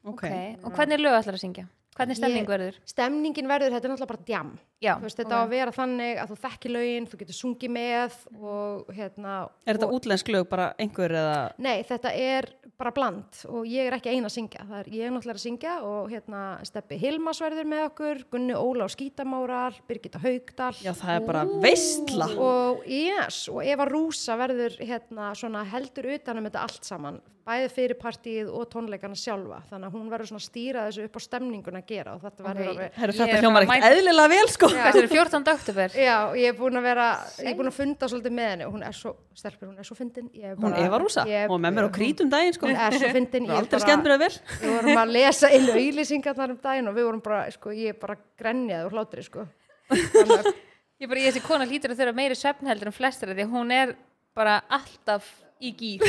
Ok, Okay. Og hvernig lög ætlar að syngja? Hvernig stemning Ég- verður? Stemningin verður, þetta er náttúrulega bara djam Já, Þú veist, þetta á að vera þannig að þú þekki lögin þú getur sungið með og hérna Er þetta og, útlensk lög bara einhver eða Nei, þetta er bara bland og ég er ekki eina að syngja, það er ég náttúrulega að syngja og hérna Steppi Hilmas verður með okkur Gunni Óla og Skítamárar Birgitta Haugdal Já, það er bara veistla og yes, og Eva Rúsa verður hérna svona heldur utanum þetta allt saman, bæði fyrir partíið og tónleikana sjálfa, þannig að hún verður svona að stýra þessu upp á stemninguna að gera og þetta verður Ok. alveg Herru, Ég þetta er hljómar bara ekkert eðlilega vel sko Hvað er 14. oktober? Já, og ég er búin að vera, ég er búin að funda svolítið með henni og hún er svo, stelpur, hún er svo fyndin Ég er Hún bara- Eva Rúsa, ég- hún var með mér á krítum daginn sko Hún er svo fyndin, ég Aldrei er bara... bara- skemmt mér að vel við vorum að lesa inn auðlýsingarnar um daginn og við vorum bara, sko, ég bara grenjaði úr hlátri, sko Þannig að, Ég bara, ég þessi kona hlýtur að þurfa meiri svefn heldur en flestir af því að hún er bara alltaf í gýr.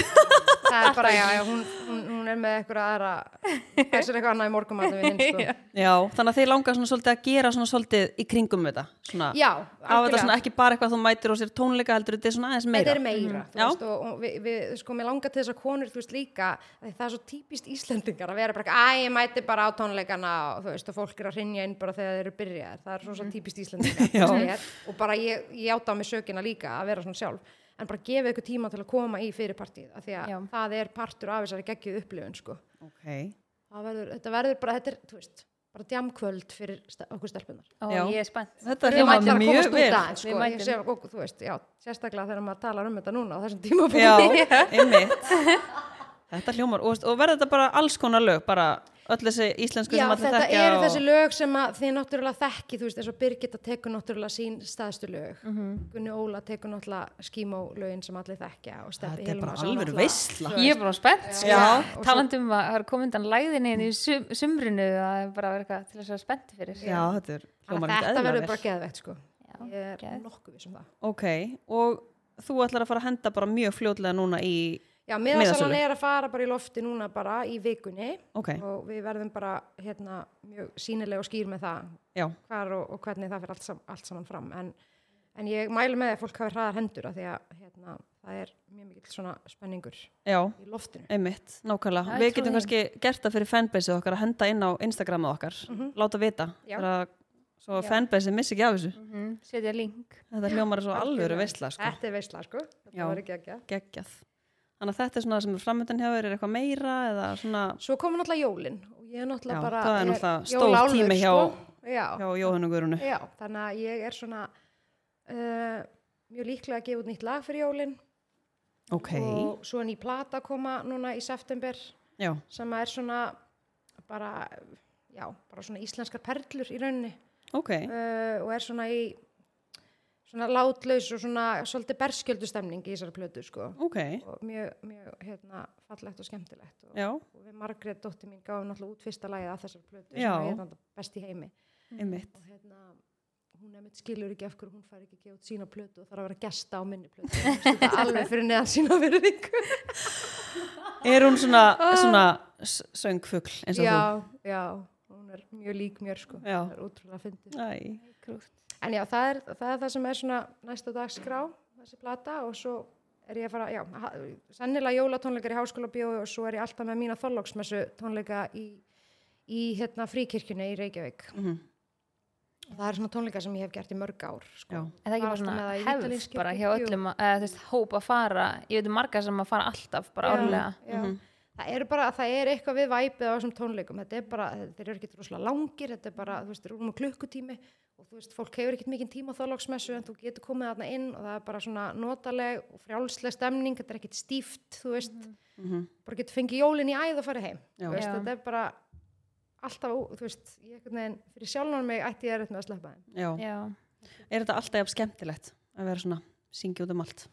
það er bara, já, já, hún, hún, hún er með eitthvað aðra þessi er eitthvað annað í morgumatum við hinn, sko Já, þannig að þeir langar svona svolítið að gera svona svolítið í kringum þetta svona, Já, á þetta svona ekki bara eitthvað þú mætir og sér tónleika heldur þetta er svona aðeins meira Mhm. Þetta er meira, þú Já. veist, og, og við, við, sko, mér langar til þess að konur, þú veist, líka, að það er svo típist Íslendingar að vera bara, ekki, æ, ég mæti bara á tónleikana og, þú veist, og fólk er að hrinja inn bara þegar þeir eru byrjaðir, það er svo, svo típist Íslendingar, Mhm. Já. það er, og bara ég, ég átta á mig sökina líka að vera svona sjálf, en bara gefa ykkur tíma til að koma í fyrirpartið, af því að Já. það er partur af þessari geggjuð upplifun, sko. okay. Það verður, þetta verður bara, þetta er, þú veist, bara djamkvöld fyrir ste- okkur stelpunar Ó, Já. ég er spennt. Þetta við hljómar mættum að mjög komast út vel aðeins Við sko. mætum. Ég sé- og, þú veist, já, sérstaklega þegar maður talar um þetta núna á þessum tímapunkt Já, einmitt Þetta hljómar, og, veist, og verður þetta bara alls konar lög bara öll þessi íslensku Já, Sko, sem allir þetta þekkja eru og... þessi lög sem að þið náttúrulega þekki, þú veist, eins og Birgitta tekur náttúrulega sín staðstu lög Gunni Óla tekur náttúrulega skímó lögin sem allir þekkja og Mhm. Steppi Þetta er bara Hilmars á alveg náttúrulega- veistla Ég er bara spennt. sko. Já. Talandi um að það er komindan læðinni inn hérna í sum, sumrinu að það er bara að vera eitthvað til þess að spennti fyrir. Já, þetta er Þannig hljómar að ekkert Þetta verður eðlilega bara vel geðvegt sko Já, Ég er geðveikt. nokkuð viss um það Ok, og þú ætlar að fara að henda bara mjög fljótlega núna í Já, Miðasölu. miðasalan er að fara bara í lofti núna bara í vikunni Ok, og við verðum bara hérna mjög sínileg og skýr með það já, hvar og, og hvernig það fyrir allt, sam, allt saman fram en, en ég mælu með því að fólk hafi hraðar hendur af því að hérna, það er mjög mikill svona spenningur já, í loftinu einmitt, nákvæmlega Já, ég við trúi getum því. kannski gert það fyrir fanbaseið okkar að henda inn á Instagramið okkar láta vita Mhm. Já. bara svo Já. að fanbaseið missi ekki af þessu Mhm, setja link þetta hljómar er svo alvöru Algjörlega. veistla sko. Þetta er veistla sko, þetta Já. var ekki ekki geggjað þannig að þetta er svona það sem er framöndan hjá þér er eitthvað meira eða svona Svo komur náttúrulega jólin og ég er náttúrulega Já, bara það er ég náttúrulega stór jólálfur, tími hjá- sko. Já, hjá Jóhann og Guðrunu já, þannig að ég er svona uh, mjög líklega að gefa út nýtt lag fyrir jólin ok, og svo er ný plata að koma núna í september já, sem er svona bara, já, bara svona íslenskar perlur í rauninni ok uh, og er svona í svona látlaus og svona svolítið berskjöldu stemning í þessari plötu sko ok, og mjög, mjög hérna, fallegt og skemmtilegt og, já, og við Margrét dóttir mín gáum náttúrulega út fyrsta lagið að þessar plötu Já. sem er hérna best í heimi einmitt og hérna hún emitt skilur ekki af hverju hún fær ekki að gefa út sína plötu og þarf að vera gesta á minni plötu Mér finnst þetta alveg fyrir neðan sína virðingu er hún svona, svona s- söngfugl eins og Ah. já, þú já, hún er mjög lík mér sko Já. það er útrúlega fyndið Æ, en já, það er, það er það sem er svona næsta dag skrá þessi plata og svo er ég að fara, já, ha- sennilega jólatónleikar í háskóla bjói og svo er ég alltaf með mína þorlóksmessu tónleika í, í hérna fríkirkjunni í Reykjavík Mhm. og það er svona tónleika sem ég hef gert í mörg ár já, sko. En það er ekki bara Varstu með það í svona hefð vítaleiðskipti? bara hjá Jú. öllum, að- eða þú veist, hóp að fara, ég veit um marga sem að fara alltaf, bara Já, árlega. já. Mhm. það er bara, það er eitthvað við væpið á þessum tónleikum, þetta er bara, þeir eru ekki rosalega langir, þetta er bara, þú veist, rúmum klukkutími og þú veist, fólk hefur ekkert mikinn tíma á þálagsmessu en þú getur komið þarna inn og það er bara svona notaleg og frjálsleg stemning, þetta er ekkert stíft, þú veist, mhm, bara getur fengið jólin í æð og farið heim, Já. þú veist, Já. þetta er bara alltaf, ó- þú veist, ég einhvern veginn, fyrir sjálfan mig ætti ég að með að sleppa þeim. já Já. er þetta alltaf jafn skemmtilegt að vera svona syngja út um allt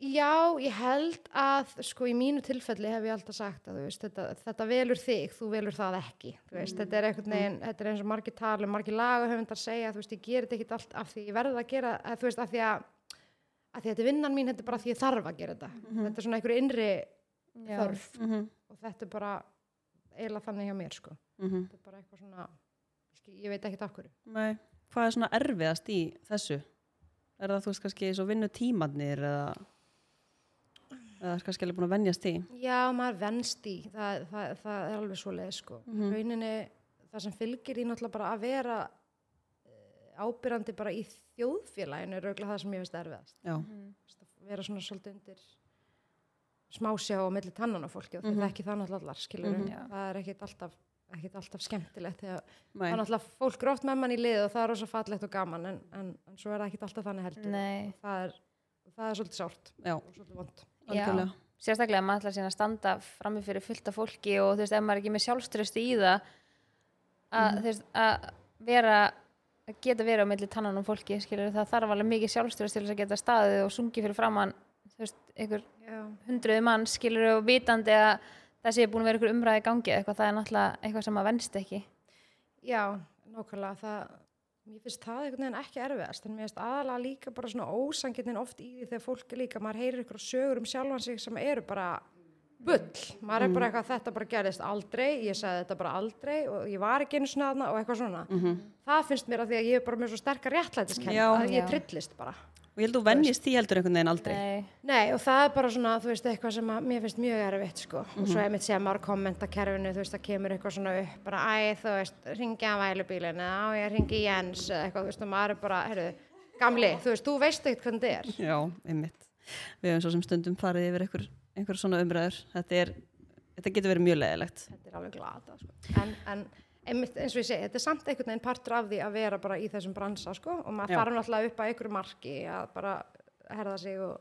Já, ég held að sko í mínu tilfelli hef ég alltaf sagt að þú veist, þetta, þetta velur þig, þú velur það ekki þú veist, þetta er einhvern veginn, þetta er eins og margir talum, margir lagahöfundar segja þú veist, ég gerir þetta ekkit allt af því ég verð að gera, að, þú veist, af því að af því að þetta er vinnan mín, þetta er bara því ég þarf að gera þetta Mm. þetta er svona einhverju innri Já. þörf mhm, og þetta er bara eiginlega þannig hjá mér sko, mhm, þetta er bara eitthvað svona ég skil- ég veit ekkit af hverju nei hvað er svona erfiðast í þessu er það þú veist kannski svo vinnu tímanir eða eða er kannski alveg búin að venjast í Já, maður venst í, það, það, það er alveg svo leið sko. Mhm. Rauninni, það sem fylgir í náttúrulega bara að vera eh, ábyrrandi bara í þjóðfélaginu er auðvitað það sem ég veist erfiðast. já, Þú veist, að Vera svona svolítið undir smásjá og milli tannan á fólki og mm Mhm. það er ekki það náttúrulega allar, skilur Mhm. Já. Það er ekkit alltaf, ekkit alltaf skemmtilegt þegar það er nei, náttúrulega fólk gróft með mann í lið og það er rosa fallegt og gaman en, en, en svo er það ekkit alltaf þannig heldur. Nei. Það er, það er svolítið sárt já, og svolítið vond. Já. algjörlega Sérstaklega að maður ætlar síðan að standa frammi fyrir fullta fólki og þú veist, ef maður er ekki með sjálfströsti í það, að þú veist, að vera, að geta verið á milli tannan um fólki, skilur, það þarf alveg mikið sjálfströst til þess að geta staðið og sungið fyrir framann, þú veist, einhver Já. hundruðu mann, skilur, og vitandi að það sé búin að vera einhver umræði í gangi, eða eitthvað, það er náttúrulega eitthvað sem maður venst ekki. Já, nákvæmlega það, mér finnst það einhvern veginn ekki erfiðast en mér finnst aðalega líka bara svona ósangirnin oft í því þegar fólk er líka, maður heyrir ykkur sögur um sjálfan sig sem eru bara bull, maður er bara eitthvað þetta bara gerðist aldrei, ég sagði þetta bara aldrei og ég var ekki einu svona þarna og eitthvað svona það finnst mér að því að ég er bara með svo sterkar réttlætiskennd Já. að Já. ég trillist bara og ég held að þú venjist því heldur einhvern veginn aldrei Nei. Nei, og það er bara svona, þú veist, eitthvað sem að mér finnst mjög erfitt, sko. Og svo einmitt sem maður kommentakerfinu, þú veist, það kemur eitthvað svona upp, bara, æ, þú veist, ringi að vælubílinu, á, ég ringi Jens, eða eitthvað, þú veist, og maður er bara, heyrðu, gamli, þú veist, þú veist ekkert hvernig þetta er. Já, einmitt. Við höfum svo sem stundum farið yfir einhver, einhver svona umræður. Þetta, er, þetta getur verið mjög leðilegt. Þetta er alveg glata, sko. En, en einmitt, eins og ég segi, þetta er samt einhvern veginn partur af því að vera bara í þessum bransa, sko, og maður Já. þarf náttúrulega upp að einhverju marki að bara herða sig og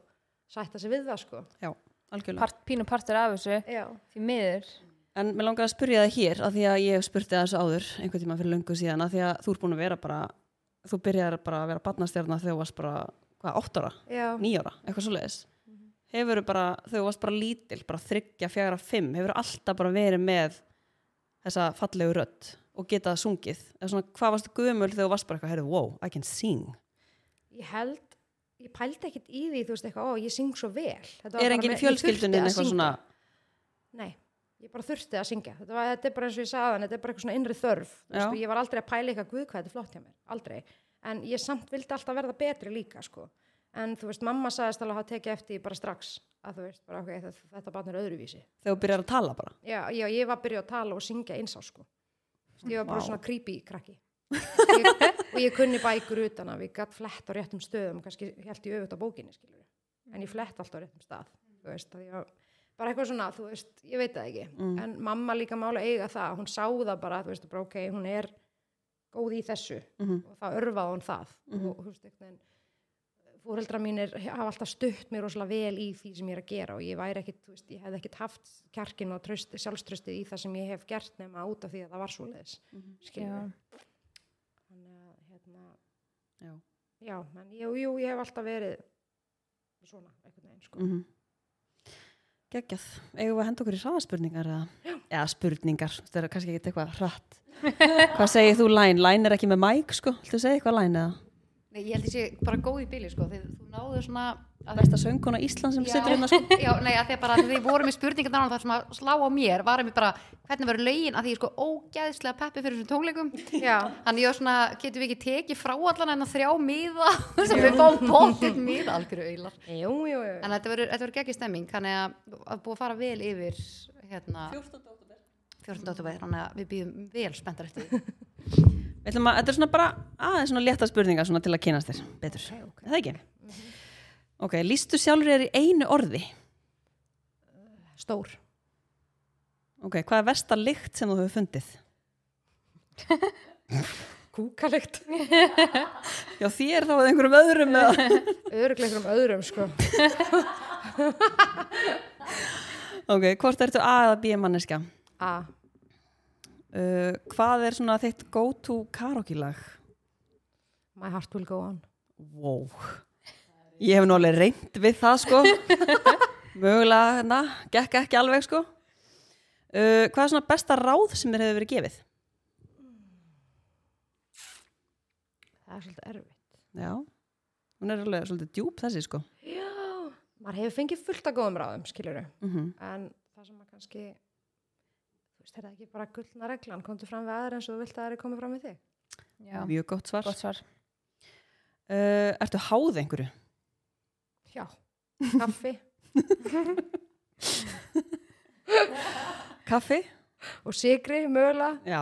sætta sig við það, sko. Já, algjörlega. part, pínu partur af þessu Já. því miður En mér langar að spyrja það hér, af því að ég hef spurt það þessu áður, einhvern tíma fyrir löngu síðan, af því að þú er búin að vera bara, þú byrjar bara að vera barnastjarnar þegar þú varst bara, hvað, 8 ára, Já. 9 ára, eitthvað svo leiðis. Hefur bara, þegar þú varst bara lítil, bara 3, 4, 5, hefur alltaf bara verið með þessa fallegu rödd og getað sungið. Eða svona, hvað varst gömul þegar þú varst bara eitthvað, heyrðu, wow, I can sing. ég held ég pældi ekkert í því, þú veist eitthvað, ó, ég syng svo vel Þetta var er bara enginn í með- ég þurfti fjölskyldunni að eitthvað syngja. svona nei, ég bara þurfti að syngja þetta, var, þetta er bara eins og ég sagði þannig, þetta er bara eitthvað svona innri þörf þú Já. veist, og ég var aldrei að pæla eitthvað guð hvað þetta er flott hjá mér, aldrei en ég samt vildi alltaf verða betri líka sko. en þú veist, mamma sagðist alveg að hafa tekið eftir því bara strax að þú veist, bara ok, þetta, þetta barn er öðruvísi þegar þú byrjar að tala bara já, já, ég var að byrja að tala og syngja eins á sko Þú veist, ég var bara Vá. svona creepy krakki ég, og ég kunni bækur utan að ég gatt flett á réttum stöðum kannski held ég öfut á bókinni skilur en ég flett alltaf á réttum stað þú veist, að ég var bara eitthvað svona, þú veist, ég veit það ekki Mm. en mamma líka mála eiga það, hún sá það bara, þú veist, bara ok, hún er góð í þessu Mhm. og það örfaði hún það Mhm. og þú veist, einhvern veginn fóreldra mínir hafa alltaf stutt mér rosalega vel í því sem ég er að gera og ég væri ekkit, þú veist, ég hefði ekkit haft kjarkin og tröst, sjálfströstið í það sem ég hef gert nema út af því að það var svo leiðis Mhm. Já. þannig að, hérna, Já. já, en jú, jú, ég hef alltaf verið svona, einhvern veginn, sko mm -hmm. geggjað, eigum við að henda okkur í hraðaspurningar eða, eða spurningar þetta er kannski ekki eitthvað hratt hvað segir þú læn, læn er ekki með mæk sko, þú segir eitthvað læn eða Nei, ég held ég sé bara góð í bíli sko, þegar þú náðu svona að besta sönguna Ísland sem Já. situr hérna sko Já, nei, að því að bara að við vorum með spurningar þannig að það sem að slá á mér var að mér bara hvernig verður lögin að því ég er sko ógæðslega peppi fyrir þessum tónleikum já, Þannig ég var svona, getum við ekki tekið frá allan en að þrjá miða sem við fáum bóttið miða algjöru auðlar jú, jú, jú. Þannig að þetta verður- þetta verður geggjur stemming þannig að, að búið að fara vel yfir hérna, 14. oktober þannig að við býðum vel spenntar eftir því. Við ætlum að, þetta er svona bara aðeins svona létta spurningar svona til að kynast þér betur, okay, okay. það ekki ok, lístu sjálfur þér í einu orði stór ok, hvað er versta lykt sem þú hefur fundið kúkalegt já þér þá eða einhverjum öðrum eða? örugleikur um öðrum sko ok, hvort ertu A eða B manneska a, uh, hvað er svona þitt go to karaoke lag my heart will go on wow. ég hef nú alveg reynd við það sko mögulega hérna, gekk ekki alveg sko uh, hvað er svona besta ráð sem þér hefur verið gefið það er svolítið erfitt já, hún er alveg svolítið djúb þessi sko já, maður hefur fengið fullt af góðum ráðum skiluru, mm en það sem maður kannski þú veist, er það ekki bara gullna reglan, komdu fram við aðra eins og þú vilt að aðra komið fram við þig Já, mjög gott svar gott svar. uh, ertu háð einhverju? já, kaffi kaffi? og sigri, mögulega já,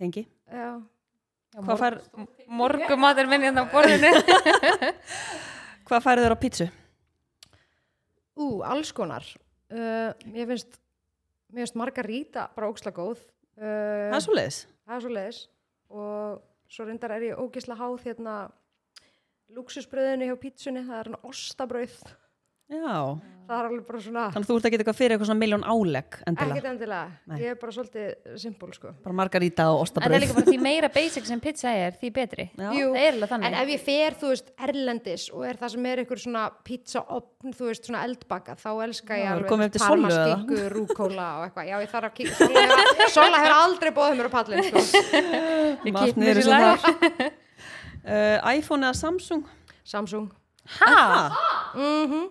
tengi já, hvað, fær, Morgumatur minn hérna á borðinu. hvað færið þér á pítsu? ú, alls konar uh, ég finnst mér finnst margar ríta bara óksla góð það uh, er svo leiðis það er svo leiðis og svo reyndar er ég ógisla háð hérna lúksusbröðinu hjá pítsunni, það er hann ostabröð já, það er alveg bara svona þannig að þú ert að geta eitthvað fyrir eitthvað svona miljón álegg endilega, ekkert endilega, Nei. ég er bara svolítið simpul sko. bara En margarita og það er ostabröð líka bara því meira basic sem pizza er, því betri. Já. Jú. Það er alveg en þannig. ef ég fer, þú veist, erlendis og er það sem er einhver svona pizzaopn þú veist, svona eldbaka, þá Já, elska ég alveg komið þú veist, eftir Sollu eða? parmaskinku, rúkóla og eitthvað, já ég þarf að kíkja Sola hefur- Sola hefur aldrei bóðið mér á pallin sko. Ég Margt kippi mér niður í sem lag. þar. uh, iPhone eða Samsung? Samsung Hæ? mm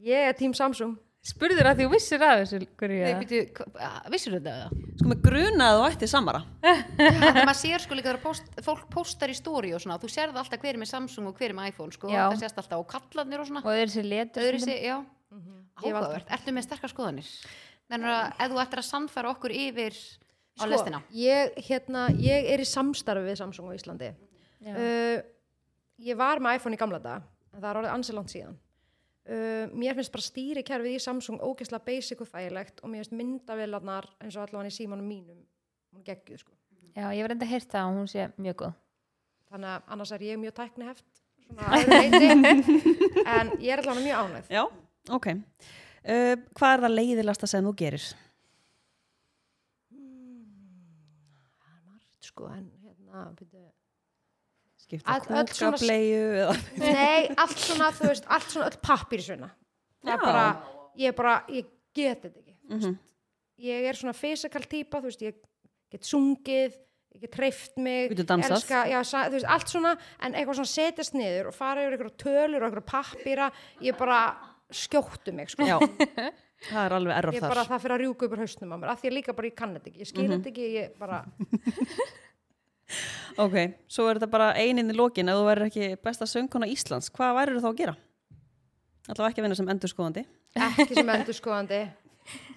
ég er tím Samsung Spurður að því þú vissir að þessu hverju Nei, ég býtu, vissir þetta það? Sko með gruna að þú ætti samara. að maður sér sko líka þegar post, fólk postar í stóri og svona, þú sér það alltaf hver er með Samsung og hver er með iPhone sko, Já. það sérst alltaf á kallarnir og svona, Og þau eru sér letur. öðru sig, já Ég hef aldrei- Mhm. áhugavert, ertu með sterkar skoðanir mennur að, ef þú ættir að sannfæra okkur yfir á Sko, lestina ég, hérna, ég er í samstarfi við Samsung á Íslandi Já. uh, ég var með iPhone í gamla dag en það er orðið ansilant síðan uh, mér finnst bara stýrikerfið í Samsung ógeðslega basic og þægilegt og mér finnst myndavélarnar eins og allavega í símanum mínum hún geggjuð sko Já, ég var enda að heyrta að hún sé mjög góð. þannig að annars er ég mjög tækniheft svona að öðru leyti. en ég er allavega mjög ánægð Já. Ok. Uh, hvað er það leiðilegasta sem þú gerir? sko en hérna byrju. Skipta Að- öll svona- kúkableiu eða... Nei, allt svona, þú veist, allt svona öll pappir svona. Það er Já. bara, ég er bara, ég get þetta ekki. Mm -hmm. Ég er svona physical típa, þú veist, ég get sungið, ég get treyft mig. Getur dansað. Elska, já, sa, þú veist, allt svona, en eitthvað svona setjast niður og fara yfir einhverja tölur og einhverja pappira, ég bara skjóttu mig, sko. Já. Það er alveg erf Ég þar. bara, það fyrir að rjúka upp úr hausnum á mér, af því ég líka bara, ég kann þetta ekki, ég skil þetta ekki, ég bara... ok, svo er þetta bara einin í lokin ef þú verður ekki besta söngkona Íslands hvað værið þá að gera? allavega ekki að vinna sem endurskoðandi ekki sem endurskoðandi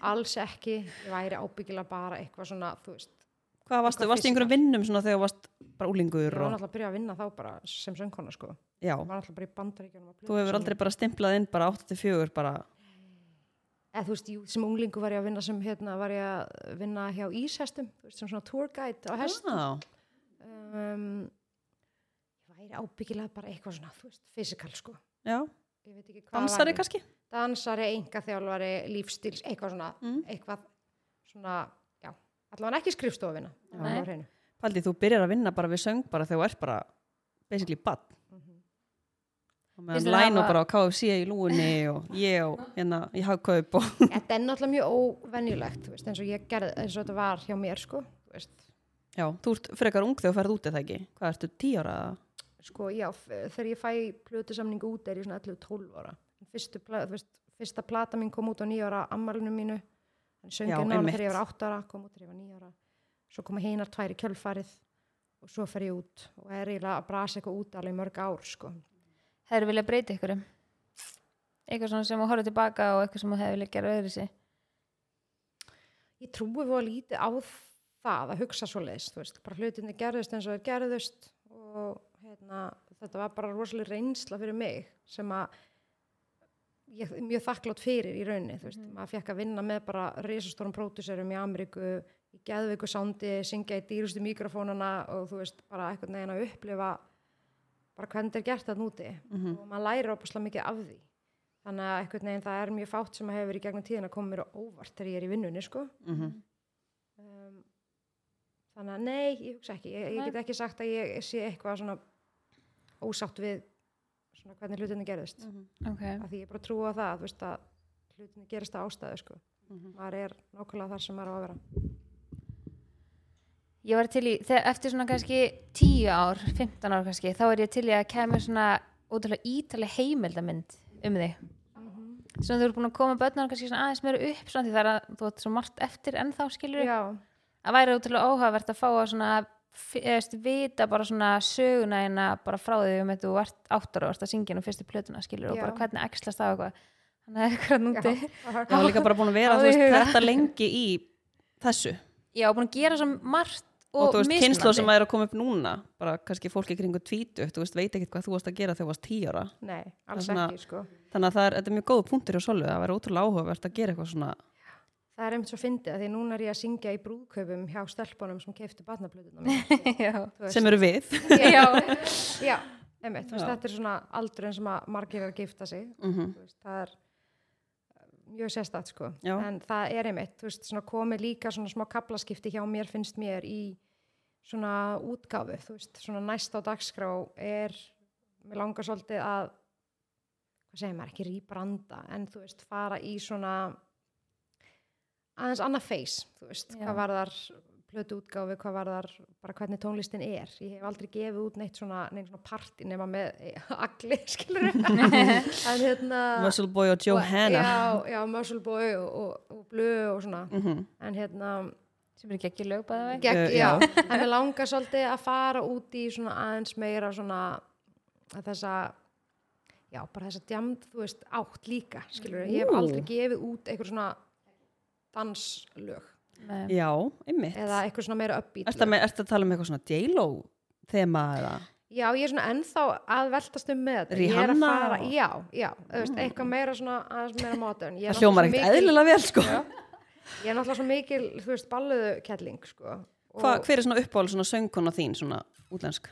alls ekki, ég væri ábyggilega bara eitthvað svona, þú veist hvað varstu, Eitthvað varstu í einhverjum vinnum svona þegar þú varst bara úlingur ég var og, náttúrulega að byrja að vinna þá bara sem söngkona sko, ég já, var náttúrulega bara í bandaríkjunum þú hefur aldrei bara stimplað inn bara 84 bara, eða þú veist, jú, sem unglingu var ég að vinna sem hérna var ég að vinna hjá íshestum þú veist, sem svona tour guide Ah. á hest já, um, ég væri ábyggilega bara eitthvað svona, þú veist, physical sko já ég veit ekki hvað dansari væri. kannski dansari, engaþjálfari, lífstíls eitthvað svona, Mm. eitthvað svona, já, allavega ekki skrifstofina Nei. alveg Paldi, þú byrjar að vinna bara við söng bara þegar þú ert bara basically bad og Finnst meðan þér læn og hafa- bara á KFC í lúinni og ég og hérna í hagkaup og þetta er náttúrulega mjög óvenjulegt þú veist, eins og ég gerði, eins og þetta var hjá mér sko, þú veist, já, þú ert frekar ung þegar þú ferð út eða ekki hvað ertu, 10 ára? eða? sko, já f- þegar ég fæ plötusamningu út er ég svona 11-12 ára fyrstu, pla- þú veist, fyrsta plata mín kom út á nýjára ammalinu mínu þannig Já, söngið nána einmitt. þegar ég var 8 ára kom út þegar ég var 9 ára svo koma hinar tvær í kjölfarið og svo fer ég út og er eiginlega að brasa eitthvað út alveg í mörg ár sko. Það eru viljað breyta ykkur eitthvað svona sem þú horfður tilbaka og eitthvað sem þú hefur viljað gera öðru sig ég trúi fóða lítið á það að hugsa svo leiðist, þú veist, bara hlutinni gerðust eins og þeir gerðust og hérna, þetta var bara rosalega reynsla fyrir mig sem að ég er mjög þakklátt fyrir í rauninni, þú veist, maður fekk að vinna með bara reisastórum pródúserum í Ameríku í geðveiku sándi, syngja í dýrustu mikrofónana og þú veist, bara eitthvað neginn að upplifa bara hvernig þetta er gert þarna úti Mm. Mhm, og maður læri opaslega mikið af því þannig að eitthvað neginn það er mjög fátt sem að hefur verið í gegnum tíðin að koma mér á óvart þegar ég er í vinnunni, sko Mhm. um, þannig að nei, ég hugsa ekki ég, ég Nei. get ekki sagt að ég sé eitthvað svona ósátt við svona hvernig hlutinni gerðist mm okay. af því ég bara trúi á það þú veist, að hlutinni gerist að ástæðu sko. maður er nákvæmlega þar sem maður á að vera Ég var til í, þegar, eftir svona kannski 10 ár, 15 ár kannski, þá er ég til í að kemur svona ótrúlega ítalega heimildamynd um þig. Mhm. Svona þú eru búin að koma börnar kannski svona aðeins meira upp, svona því það er að þú átt svo margt eftir ennþá skilur. já, Það væri ótrúlega óhagvert að fá að svona, eðast, vita bara svona söguna hérna bara frá því um þetta þú ert áttur og ert að syngja nú fyrstu plötuna skilur og Já. bara hvernig ekslast á eitthvað. Þannig að eitthvað núti. ég var líka bara búin að vera Já, þú veist, ég huga. þetta lengi í þessu Já, búin að gera svo margt og, og, þú veist, kynslu sem mismunandi. að er að koma upp núna bara kannski fólki kringu tvítu þú veist, veit ekkert hvað þú varst að gera þegar þú varst 10 ára nei, alls svona- ekki sko. þannig að það er, þetta er mjög góð punktur hjá Solveig, það væri ótrúlega áhugavert að gera eitthvað svona það er einmitt svo fyndið af því núna er ég að syngja í brúðkaupum hjá stelpunum sem keiftu batnablutuna Já. sem eru við já, já, einmitt, þú veist, Já. þetta er svona aldurinn sem að margir er að gifta sig Mhm. Þú veist, það er eh, mjög sérstætt sko Já. en það er einmitt, þú veist, svona komið líka svona smá kaplaskipti hjá mér finnst mér í svona útgáfu þú veist, svona næst á dagskrá er, mér langar svolítið að hvað segir maður, ekki rýbranda en þú veist, fara í svona aðeins annað feys, þú veist, Já. hvað varðar plötu útgáfi, hvað varðar bara hvernig tónlistin er, ég hef aldrei gefið út neitt svona, neitt svona party nema með e, agli, skilur en hérna Muscle Boy og Johanna já, já, Muscle Boy og, og, og Blue og svona en hérna sem er ekki ekki lög bæða veginn. gegn, Mhm. Eh, já. já. en við langar svolítið að fara út í svona aðeins meira svona að þessa já, bara þessa djamd, þú veist, átt líka skilur, ég hef Ú. aldrei gefið út eitthvað svona danslög Nei. já, einmitt eða eitthvað svona meira uppbít Ertu að, ert að tala um eitthvað svona J-Lo þema eða? já, ég er svona ennþá að veltast um með þetta ég er að Rihanna fara, og- Mm. já, já, þú veist, eitthvað meira svona aðeins meira modern Ég er Það hljómar náttúrulega ekkert svo mikil- eðlilega vel sko. ég er náttúrulega svo mikil, þú veist, balluðu kettling, sko Og- Hva, hver er svona uppáhald svona söngkona þín svona útlensk?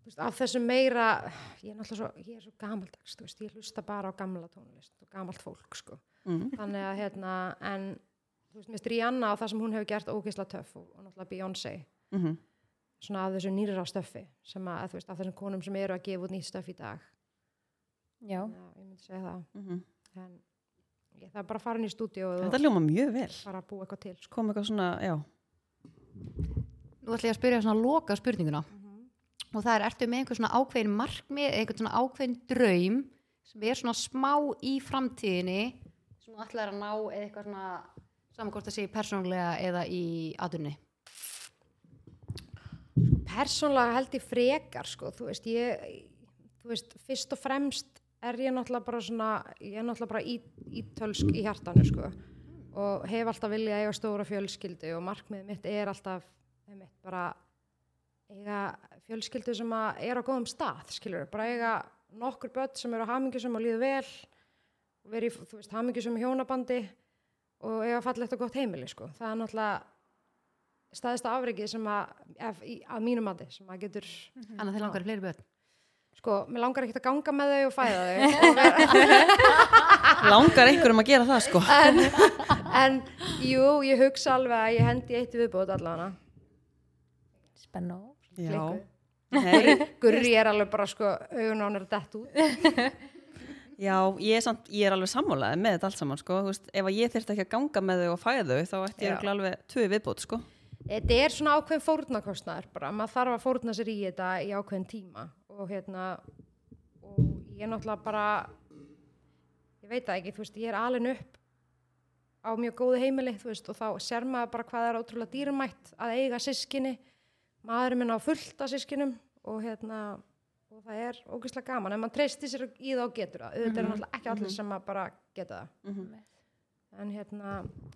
þú veist, af þessu meira ég er náttúrulega svo, ég er svo gamaldags þú veist, ég hlusta bara á gamla tónlist og gamalt fólk, sko Mm. þannig að, hérna, en þú veist, mist Rihanna og það sem hún hefur gert ógeðslega töff og, og náttúrulega Beyoncé Mm svona af þessu nýra stöffi sem að, þú veist, af þessum konum sem eru að gefa út nýtt stöff í dag Já. já, ég myndi segja það -hmm. en ég, það er bara að fara inn í stúdíu og Þetta hljómar mjög vel fara að búa eitthvað til, sko kom eitthvað svona, já Nú ætla ég að spyrja svona loka spurninguna og það er, ertu með einhver svona ákveðin markmið, einhvern svona ákveðin draum sem er svona smá í framtíðinni sem þú ætlaðir að ná eða eitthvað svona saman hvort það sé persónulega eða í aðunni persónlega held ég frekar sko, þú veist, ég þú veist, fyrst og fremst er ég náttúrulega bara svona, ég er náttúrulega bara í, ítölsk í hjartanu sko og hef alltaf viljað eiga stóra fjölskyldu og markmiðið mitt er alltaf mitt bara eiga fjölskyldu sem að er á góðum stað skilur, bara eiga nokkur börn sem eru hamingi sem að líða vel og veri, í, þú veist, hamingi sem hjónabandi og eiga fallegt og gott heimili sko, það er náttúrulega staðista afreikið sem að, ef, í, að mínum mati sem að getur Annað þeir langar í fleiri börn sko, mér langar ekkert að ganga með þau og fæða þau og vera, langar einhverjum að gera það sko en, en jú, ég hugsa alveg að ég hendi eitt viðbót allavega Spennó. já, Klikkuð. Nei, Gurri er alveg bara sko augun á hann er að dett út já ég, er samt, ég er alveg sammálaðið með þetta allt saman sko Þú veist, ef að ég þyrfti ekki að ganga með þau og fæða þau þá ætti Já. ég örugglega alveg tvö viðbót sko þetta er svona ákveðin fórnarkostnaður bara, maður þarf að fórna sér í þetta í ákveðin tíma og hérna og ég er náttúrulega bara ég veit það ekki, þú veist, ég er alin upp á mjög góðu heimili, þú veist, og þá ser maður bara hvað það er ótrúlega dýrmætt að eiga sískinni maður minn á fullt af sískinum og hérna og það er ógeðslega gaman, en maður treysti sér í það og getur það, auðvitað er náttúrulega ekki allir sem að bara geta það en hérna,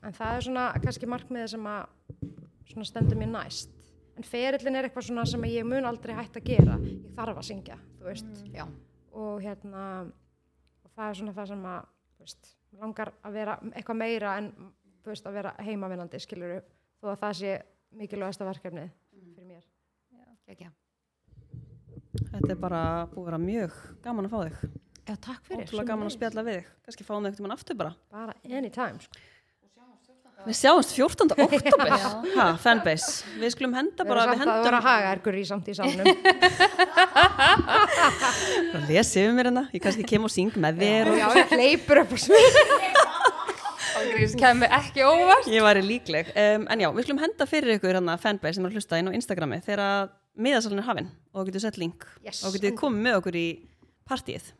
en það er svona kannski markmiðið sem að svona stendur mér næst en ferillin er eitthvað svona sem ég mun aldrei hægt að gera ég þarf að syngja, þú veist Já, og hérna og það er svona það sem að þú veist, mig langar að vera eitthvað meira en þú veist, að vera heimavinnandi skilur þó að það sé mikilvægasta verkefnið fyrir mér ekki þetta er bara búið að vera mjög gaman að fá þig Já, takk fyrir ótrúlega gaman að spjalla við þig kannski fáum þau eitthvað aftur bara bara anytime sko. Við sjáumst 14. oktober ha, fanbase, við skulum henda bara Vera við samt að hendum vera haga ergur í samt í sálnum og lesi yfir mér hérna, ég kannski kem og syng með þér og já, hleypur upp á svið Ángríns kemur ekki óvart. ég væri líkleg um, en já, við skulum henda fyrir ykkur hérna fanbase sem er að hlusta inn á Instagrami þegar að miðasalinn er hafinn og þú getur sett link Yes. og getur komið með okkur í partíið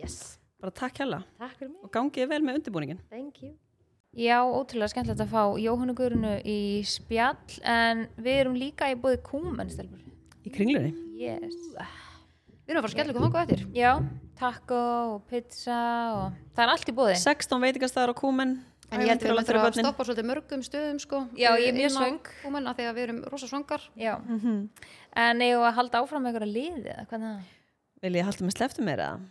yes, bara takk hella takk fyrir mig, og gangið vel með undirbúningin thank you Já, ótrúlega skemmtilegt að fá Jóhannu Guðrunu í spjall en við erum líka í búið kúmen, stelpur. í kringlunni Yes. Við erum að fara að skella ykkur þangað eftir Já, taco og pizza og það er allt í búið. 16 veitingastæðar á kúmen En ég held við Ævintýralegt að þurfa að fyrir börnin. stoppa á svolítið mörgum stöðum sko Já, ég er mjög inn á svöng. Húmen að því að við erum rosa svöngar Já. Mhm. En eigum við að halda áfram með einhverja liði eða hvernig það? vil ég halda með sleftum meira eða?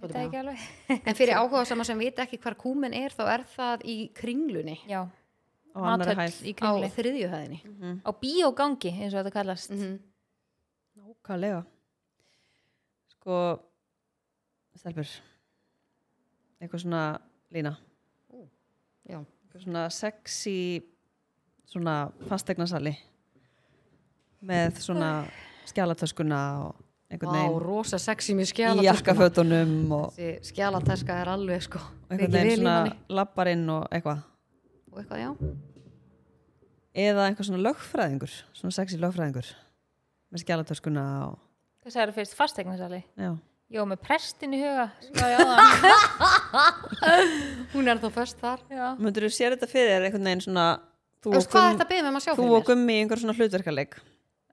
Veit það ekki alveg. En fyrir áhuga sama sem vita ekki hvar kúmen er þá er það í kringlunni Já, á annar hæl í á kringli. þriðjuhæðinni Á bíógangi, eins og þetta kallast. Mhm. Nákvæmlega Sko Stelbur Eitthvað svona lína Já, Eitthvað svona sexy Svona fastegnasali Með svona skjálatöskuna og einhvern Vá, veginn rosa sexy með Í skjálatöskuna jakkafötunum og Þessi skjálatöska er alveg sko og einhvern mikið vel í veginn svona manni. labbarinn og eitthvað Og eitthvað, já Eða einhver svona lögfræðingur Svona sexy lögfræðingur Með skjálatöskuna og Hvað sagði það fyrst? Fastegnarsali? Já Jó, með prestin í huga. Já, já, það. Hún er þá föst þar Já. Möndur þú sér þetta fyrir þér einhvern veginn svona Þú Þú og veist hvað Gumm- er þetta að beða með maður að sjá þú fyrir og gummi í einhver svona hlutverkaleik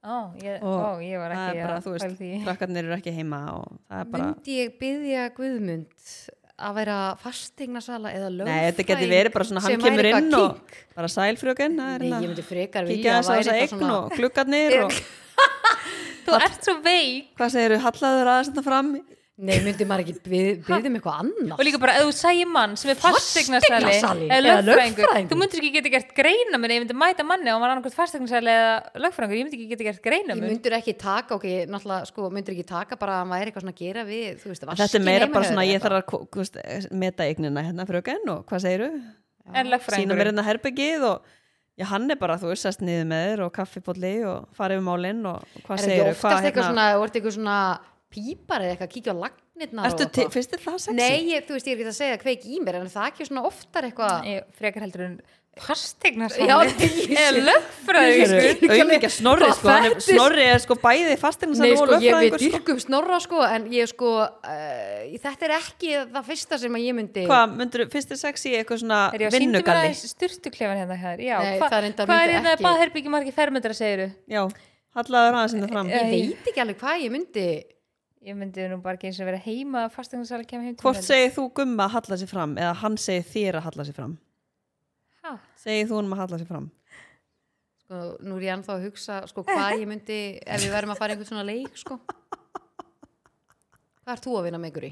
Ó, ég, og ó, ég var það ekki er bara, þú pæla í veist, því. krakkarnir eru ekki heima og það er bara, Myndi ég byggja Guðmund að vera fasteignarsala eða lögfræðing nei, þetta geti verið bara svona, hann sem væri kemur eitthvað inn og kink? bara sælfrjókin Nei, ég myndi frekar Hérna, kíkja vilja þess að þessa eign og klukkarnir og Þú ert svo veik. hvað segirðu, hallaður aðeins þetta fram Nei, myndi maður ekki byggja um eitthvað annars Og líka bara, ef þú sæði mann sem er fastegnarsali Fasteignasali eða eða lögfræðingur, lögfræðingur. þú myndir ekki geta gert greina mér, ég myndi mæta manni og hann var annarkvæmt fastegnarsali eða lögfræðingur, ég myndi ekki geta gert um greina Ég mér. myndur ekki taka, ok, náttúrulega, sko, myndur ekki taka bara að maður er eitthvað svona að gera við, þú veist, þetta er vaskinn meira heima bara hjá svona, þér ég eða þarf að kú- þú veist, meta eignina hérna frjókin og hvað segirðu, En sína lögfræðingur, mér hérna herbyggið og já, hann er bara, þú veist, sest niður með þér og kaffipolli og farið um málinn og eitthvað. hvað Er þetta segirðu, oftast hvað hérna, eitthvað svona, þú ert eitthvað svona pípar eða eitthvað, kíkja á lagnirnar ertu, og til- eitthvað? finnst þér það sexy? Nei, ég, þú veist, ég er ekki að segja kveik í mér, en það ekki svona oftar eitthvað Ég frekar heldur en Já, fastegnarsali ég eða sé. lögfræðingur. auðvitað snorri Hvað sko, hann er, fættist? snorri er sko bæði fastinn Nei, og sko, ég við lögfræðingur sko. dyrkum snorra, sko, en ég, sko, uh, þetta er ekki það fyrsta sem að ég myndi hvað, myndur, finnst þér sexy Er eitthvað ég svona að sýndu mér vinnugalli aðeins styrtuklefan hérna hér? Já, Nei, hva- það reyndar hvað er myndi hérna ekki. baðherbyggi margir fermetra, segiru? já, Hallaður aðeins inn fram. Eh, ég veit ekki alveg hvað ég myndi Ég myndi nú bara ekki eins og vera heima að fasteignarsala kemur heim til Hvort mín. segir þú gumma að halla sér fram eða hann segir þér að halla sér fram? Ha? Segir þú honum að halla sér fram? sko, nú er ég ennþá að hugsa sko, hvað ég myndi ef við verðum að fara í einhvern svona leik sko. hvað ert þú að vinna með ykkur í?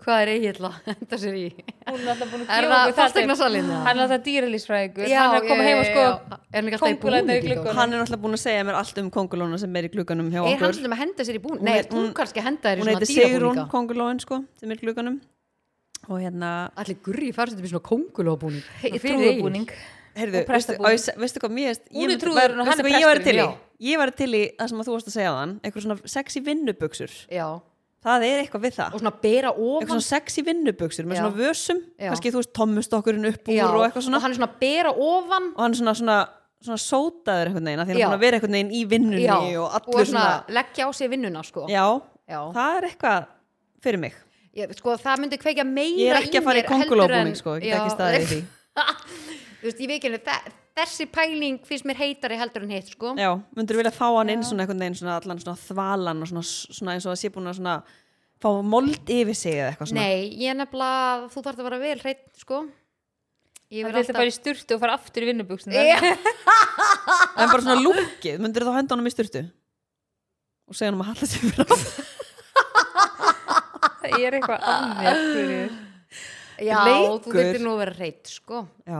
hvað er Egil að henda sér í? Hún er alltaf búin að Er gefa það okkur það fasteignasalinn, eða? Hann er alltaf dýralýsfræðingur Hann er að koma heim og sko er hann ekki alltaf í kóngulærnar í búning glugganum. eitthvað? Hann er náttúrulega búin að segja mér allt um kongulóna sem er í gluganum hjá er Eh, hann okkur. svolítið að henda sér í búning? Hún nei, heit- ert þú hún- kannski að henda þér í Hún svona heitir Sigrún dýrabúninga kongulóin sko, sem er í gluganum. Og hérna, allir gurri fara svolítið í svona kongulóbúning Trúðubúning heyrðu, Og veistu, prestabúning. á ég se- veistu hvað mér Hún er trúðurinn og hann er presturinn, presturinn. já. Ég var til í það sem að þú varst að segja þann, eitthvað svona sexy vinnubuxur. já, Það er eitthvað við það. og svona bera eitthvað ofan svona sexy vinnubuxur með Já. svona vösum, Já. kannski þú veist tommustokkurinn upp úr Já, og eitthvað svona hann er svona að bera ofan og hann er svona, svona, svona sótaður einhvern veginn, af því hann Já. er búin að vera einhvern veginn í vinnunni og já, og allur svona svona, leggja á sig vinnuna sko. já, Já. það er eitthvað fyrir mig, Ég, sko, það myndi kveikja meira ég er ekki að fara í mér heldur en- kongulóbúning sko, ég Já. get ekki staðið í því Þú veist, ég veikinu, þessi pæling finnst mér heitari heldur en hitt sko. já, myndur vilja fá hann inn svona einhvern veginn svona allan svona þvalan og svona, svona eins og það sé búin að svona fá mold yfir sig eða eitthvað svona nei, ég er nefnilega þú þarf að vera vel hreitt sko. ég Hann verð vil það alltaf bara í sturtu og fara aftur í vinnubuksin en bara svona lúkið, myndur þú henda honum í styrtu og segja hann að halla sér frá Það er eitthvað annir já, leikur. þú þurftir nú að vera hreitt sko. já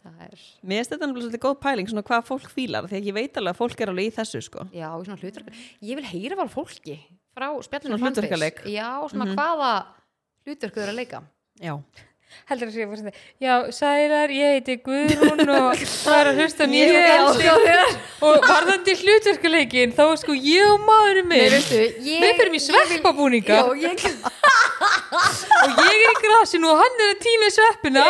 það er, Mér finnst þetta náttúrulega svolítið góð pæling, svona hvað fólk fílar, því að ég veit alveg að fólk er alveg í þessu, sko. já, í svona hlutur ég vil heyra var fólki frá spjallinu Svona hlutverkaleik. Mhm. já, svona hvaða hlutur þau eru að leika Já. Heldur að segja fórstu Já, sælar, ég heiti Guðrún og var að hlusta Ég nýju er afstöð og varðandi hlutverkuleikin þá er sko ég og maðurinn Nei, minn veistu, ég- Við fyrir í sveppabúninga já, ég og ég er í grasinu og hann er að týna sveppina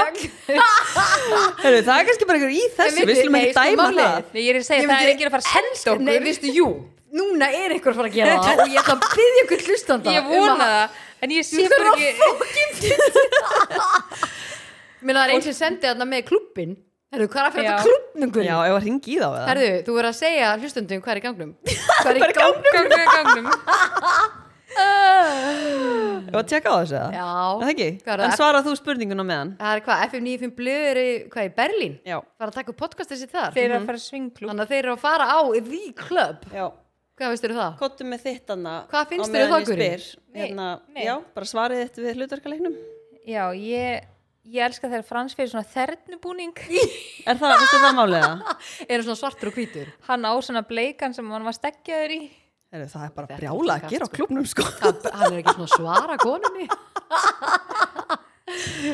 Heru, það er kannski bara einhver í þessu, En við slum veitir, ekki nei, sko, dæma málið er- það. Nei, ég er að segja, Ég það er myndi ekki að fara að senda okkur Nei, veistu, jú, núna er einhver að fara að gera það og ég ætla að byggja ykkur hlustanda um Ég vona það, en ég sé bara ekki Mér það er eins sem sendi þarna með klubbin Herðu, hvað er að fyrir Já. þetta klubbnungur? Já, ef að ringi í þá eða. Herðu, þú verður að segja hlustundum hvað er í gangnum Hvað er í gangnum? gangnum í gangnum Ef að tjekka á þessu eða. Já. Er Það ekki? Hvað er En það? svarað þú spurninguna með hann? Það er hvað, FM 95 blöð eru hvað í Berlín? Já. Fara að taka upp podcastið sér þar Þeir eru að fara að svinglu Þannig að þeir eru að fara á The Club Já. Hvað veistu það? Kottum með þitt anna. Hvað finnst þér um það, Guri? Nei, Hérna, nei. já, bara svarið þetta við hlutverkaleiknum. Já, ég, ég elska þegar Frans fyrir svona þernubúning Er það, finnst þér það málið það? Eru svona svartur og hvítur? Hann á svona bleikan sem hann var stekkjaður í Heru, það er bara Þetta er brjála að kast, gera á sko. klubnum, sko. Það- Hann er ekki svona að svara konunni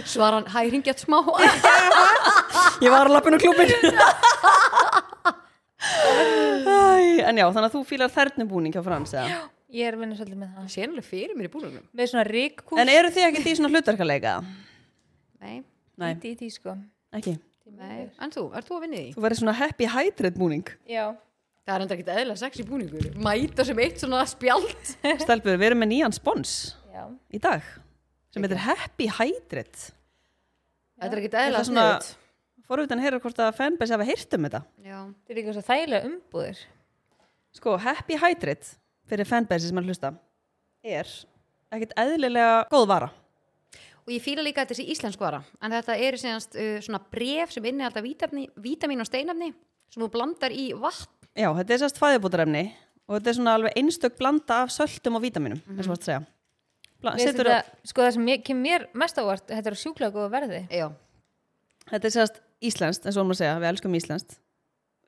Svara hann, hæ, ringjart smá Ég var að lappin á klubin Æ, En já, þannig að þú fílar þernubúning hjá Frans eða? Ég er að vinna svolítið með það Sénuleg fyrir mér í búlunum Með svona ríkkús En eru þið ekki í svona hlutverkaleika? Nei, Nei, í því sko ekki nei En þú, ert þú að vinna í því? Þú verður svona happy hydrate búning Já, Það er enda ekkert eðla sexy búningur Mæta sem eitt svona spjald Stelbur, við erum með nýjan spons já í dag sem heitir happy hydrate Þetta er ekkert Ég eðla ætla svona- sniðut Fóruðan heyra hvort að fanbase hafa heyrt um þetta Já, Þetta er líka svo þægilega umbúðir Sko, happy hydrate fyrir fanbase sem hann hlusta er ekkert eðlilega góð vara og ég fíla líka að þetta sé íslenskvara en þetta eru síðanst uh, svona bref sem inni alltaf vítamin og steinafni sem þú blandar í vatn Já, þetta er sérst fæðubótarefni og þetta er svona alveg einstök blanda af söltum og vítaminum eins og varst að segja Bla, Mhm. Mér finnst setur þetta- Sko það sem ég, kem mér mest ávart Þetta er á sjúklega góða verði Já, Þetta er sérst íslenskt, eins og hún að segja, við elskum íslenskt.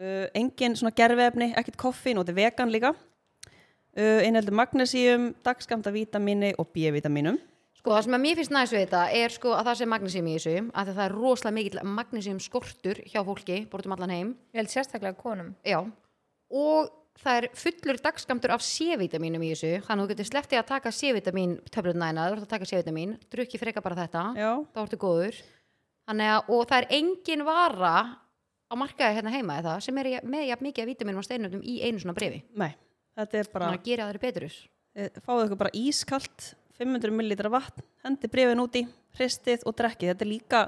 Uh, engin svona gerfiefni, ekkert koffín og þetta er vegan líka. Uh, Einheldur magnesíum, dagskamta vítamini og B-vitaminum. sko það sem að mér finnst næs við þetta er sko að það sé magnísíum í þessu af því að það er rosalega mikill magnísíum skortur hjá fólki, bortum allan heim Ég held sérstaklega konum Já, og það er fullur dagskamtur af C-vitaminum í þessu þannig að þú getur slepptið að taka C-vitamin töflutnæna, þú ert að taka C-vitamin drukki freka bara þetta, Ah. Já, þá ertu góður þannig að, og það er engin vara á markaði hérna heima eða, sem er í- með jafn mikið af vítaminum og steinöfnum í einu svona brefi, nei, þetta er bara, þannig að gera þeirri betur eh, fáðu ykkur bara ískalt, 500 millilitra vatn, hendi brefin úti, hristið og drekkið. Þetta er líka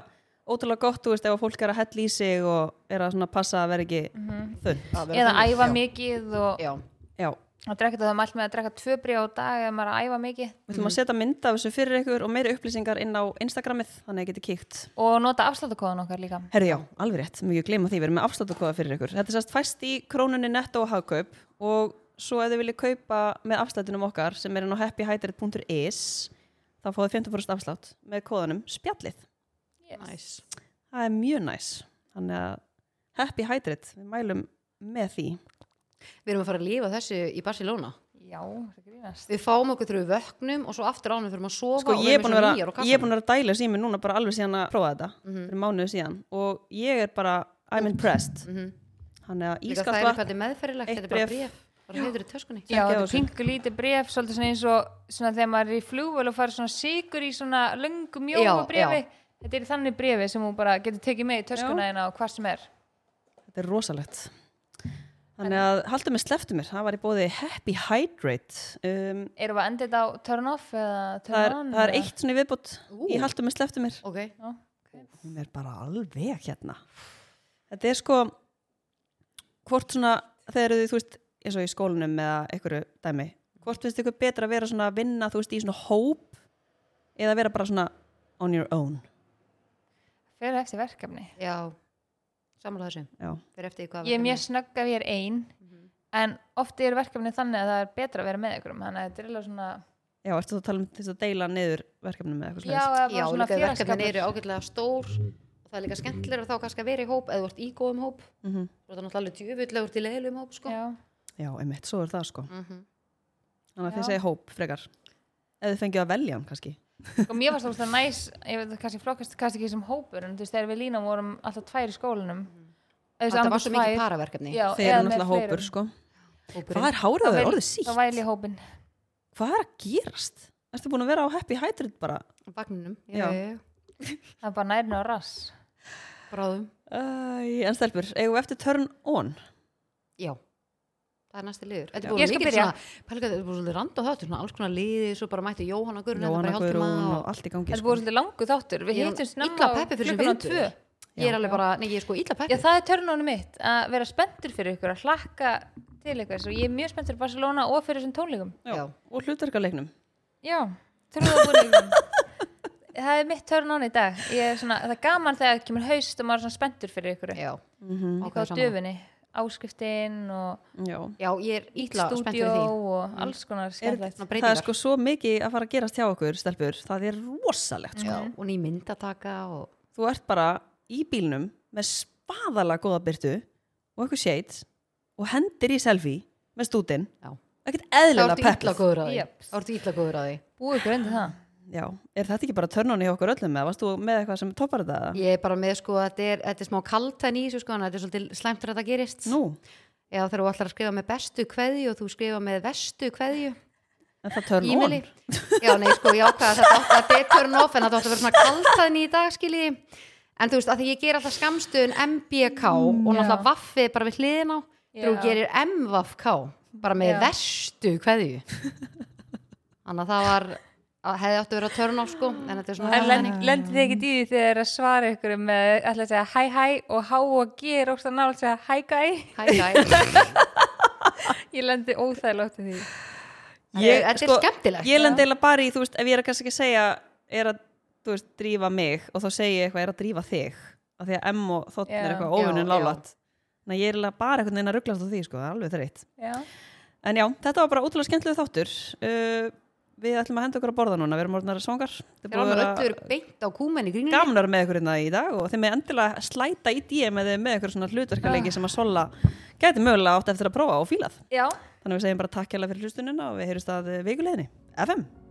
ótrúlega gott, þú veist, ef að fólk er að hella í sig og er að svona passa að vera ekki mm þunn. að vera eða þannig. æfa Já. mikið og, Já, Já, og drekka það er mælt með að drekka tvö brí á dag eða maður er að æfa mikið við ætlum að setja mynd af þessu fyrir ykkur og meiri upplýsingar inn á Instagramið, þannig að geti kíkt. og nota afsláttakóðan okkar líka Herri, já, alveg rétt, mjög gleyma því, við erum með afsláttakóða fyrir ykkur. Þetta er sérst fæst í krónunni netto og hagkaup og svo ef þið viljið kaupa með afslættinum okkar sem er inn á happyhydrate.is þá fáið 50% afslátt með kóðanum spjallið. næs Það er mjög næs. Þannig að Happy Hydrate, við mælum með því. Við erum að fara að lífa þessu í Barcelona já, það grínast Við fáum okkur þegar við vöknum og svo aftur ánum fyrir að sofa Sko, og ég er erum búin að eins og Mhm. vera, nýjar á ég er búin að vera að dæla síðan mér núna bara alveg síðan að prófa þetta fyrir mánuðu síðan og ég er bara, I'm impressed. Mhm. Þannig að Líka ískalt það er vatn, hvað þetta er meðferðilegt, eitt þetta er bara bréf. bréf bara hefur í töskunni já, Ekki á þetta er þessu. pingu lítið bref svolítið svona eins og svona þegar maður er í flugvöl og fara svona sigur í svona löngu mjóa Já, brefi já. þetta er þannig brefi sem hún bara getur tekið með í töskuna þína og hvað sem er þetta er rosalegt. Þannig að haldum við sleftum mér, það var í bóði Happy Hydrate. Um, erum við að enda þetta á turn off eða turn það, er, on það er eða? eitt svona í viðbútt í haldum við sleftum mér. Ok, Já. Hún er bara alveg hérna. Þetta er sko, hvort svona, þegar þið, þú veist, eins og í skólanum eða einhverju dæmi, hvort finnst ykkur betra að vera svona að vinna, þú veist, í svona hóp eða vera bara svona on your own? fyrir eftir verkefni já Samanlega þessu, Já, fyrir eftir því ég er hvað verkefni Mhm. mjög snögg ef ég er ein en oft er verkefni þannig að það er betra að vera með ykkur um, þannig að þetta er eiginlega svona já ertu þá að tala um þess að deila niður verkefnum með eitthvað já, eða Já, bara svona líka verkefnin félagskapur eru ágætlega stór og það er líka skemmtilega þá kannski að vera í hóp eða þú ert í góðum hóp Mm -hmm. þú ert náttúrulega alveg djöfull eða þú ert í leiðilegum hóp sko. Já. Já, einmitt, svo er það sko. Mhm. Þannig að þið Já. segja hóp frekar. Ef þið fengið að velja hann kannski. og mér varst það næs ég veit það kannski flokkast kannski ekki sem hópur en þú veist þegar við línum vorum alltaf tvær í skólanum Eða þú veist, Mhm. Þetta var annað svo tvær. mikið paraverkefni Já, Þeir eða eru með náttúrulega fleirum. hópur sko. hópurinn. Hvað er hárið Þá á þér væl- orðið þá sítt? væl ég hópin Hvað er að gerast? Erstu búin að vera á Happy Hydrate bara? Á vagninum, já, Já. já, já, það er bara nærna á rass bráðum Æ, en stelpur, eigum við eftir turn on? Já, það er næsti liður Þetta Já. er búin Ég skal mikið byrja. svona Pælga, þetta er búin svolítið rand og þáttur svona alls konar liði, svo bara mætti Jóhanna Guðrun Jóhanna Guðrún og... og allt í gangi þetta sko. búið svolítið langu þáttur við Ég er hittum illa snemma á peppuð fyrir þessum klukkan á tvö viðburði. Ég er alveg bara, nei, ég er sko illa já peppi það er törnunum mitt að vera spenntur fyrir ykkur að hlakka til ykkur og ég er mjög spenntur fyrir Barcelona og fyrir þessum tónleikum Já. Og hlutverkaleiknum. já trúðabúningum það er mitt törnun í dag ég er svona, það er gaman þegar kemur haust og maður er svona spenntur fyrir ykkur Já, Mm -hmm. líka á ákveð saman döfunni áskriftin og Mhm, Já. Já, ég er illa spennt stúdíó fyrir því og alls konar skemmtilegt Svona Það er breytingar sko svo mikið að fara að gerast hjá okkur, stelpur. Það er rosalegt sko. Já, og ný myndataka og Þú ert bara í bílnum með spaðalega góða byrtu og eitthvað shades og hendir í selfie með stútin. Já. Ekkert Það eðlilega ertu illa peppið. góður að því Jöps. Það ertu illa góður að því búið ykkur undir það Já, er þetta ekki bara törnunni hjá okkur öllum eða varst þú með eitthvað sem toppar þetta? Ég er bara með sko, þetta er, þetta er smá kaltan í þessu sko, en þetta er svolítið slæmt þegar þetta gerist Nú, Já, þegar þú ætlar að skrifa með bestu kveðju og þú skrifa með vestu kveðju en það törn on. Ímeli Já, nei, sko, ég ákvaða að þetta átti að betur en off en þetta átti að vera svona kaltan í dag, skilji En þú veist, að því ég ger alltaf skamstöðun MBK og náttúrulega vaffið bara við hliðin á Mm, þegar Já. þú gerir MVK bara með Já. verstu kveðju Þannig að það var að hefði átti að vera törn off, sko en þetta er svona En lend, lendir þið ekki í því þegar að svara ykkur með ætla að segja hæ hæ og há og ger og nála að segja hæ gæ Hæ, hæ, Ég lendi óþægilegt í því Ég- þetta er skemmtilegt. sko, sko. Ég lend eiginlega bara í, þú veist, ef ég er að kannski ekki segja er að, þú veist, drífa mig og þá segi ég eitthvað er að drífa þig af því að M og þótt Já. er eitthvað Já, óvinnun já. lálat. Þannig að ég er eiginlega bara einhvern veginn að rugglast á því, sko, það er alveg þreitt. Já, En já, þetta var bara útrúlega skemmtilega þáttur. Uh, við ætlum að henda okkur að borða núna, við erum orðnar svongar. Þetta er búið Þegar hann að er vera öllur beint á kúmenni gríninu gamnar með ykkur hérna í dag og þeim er endilega slæta í DM eða með ykkur svona hlutverkaleiki sem að Sola gæti mögulega átt eftir að prófa og fílað. já Þannig að við segjum bara takk hérlega fyrir hlustunina og við heyrjumst að vikuleginni. FM!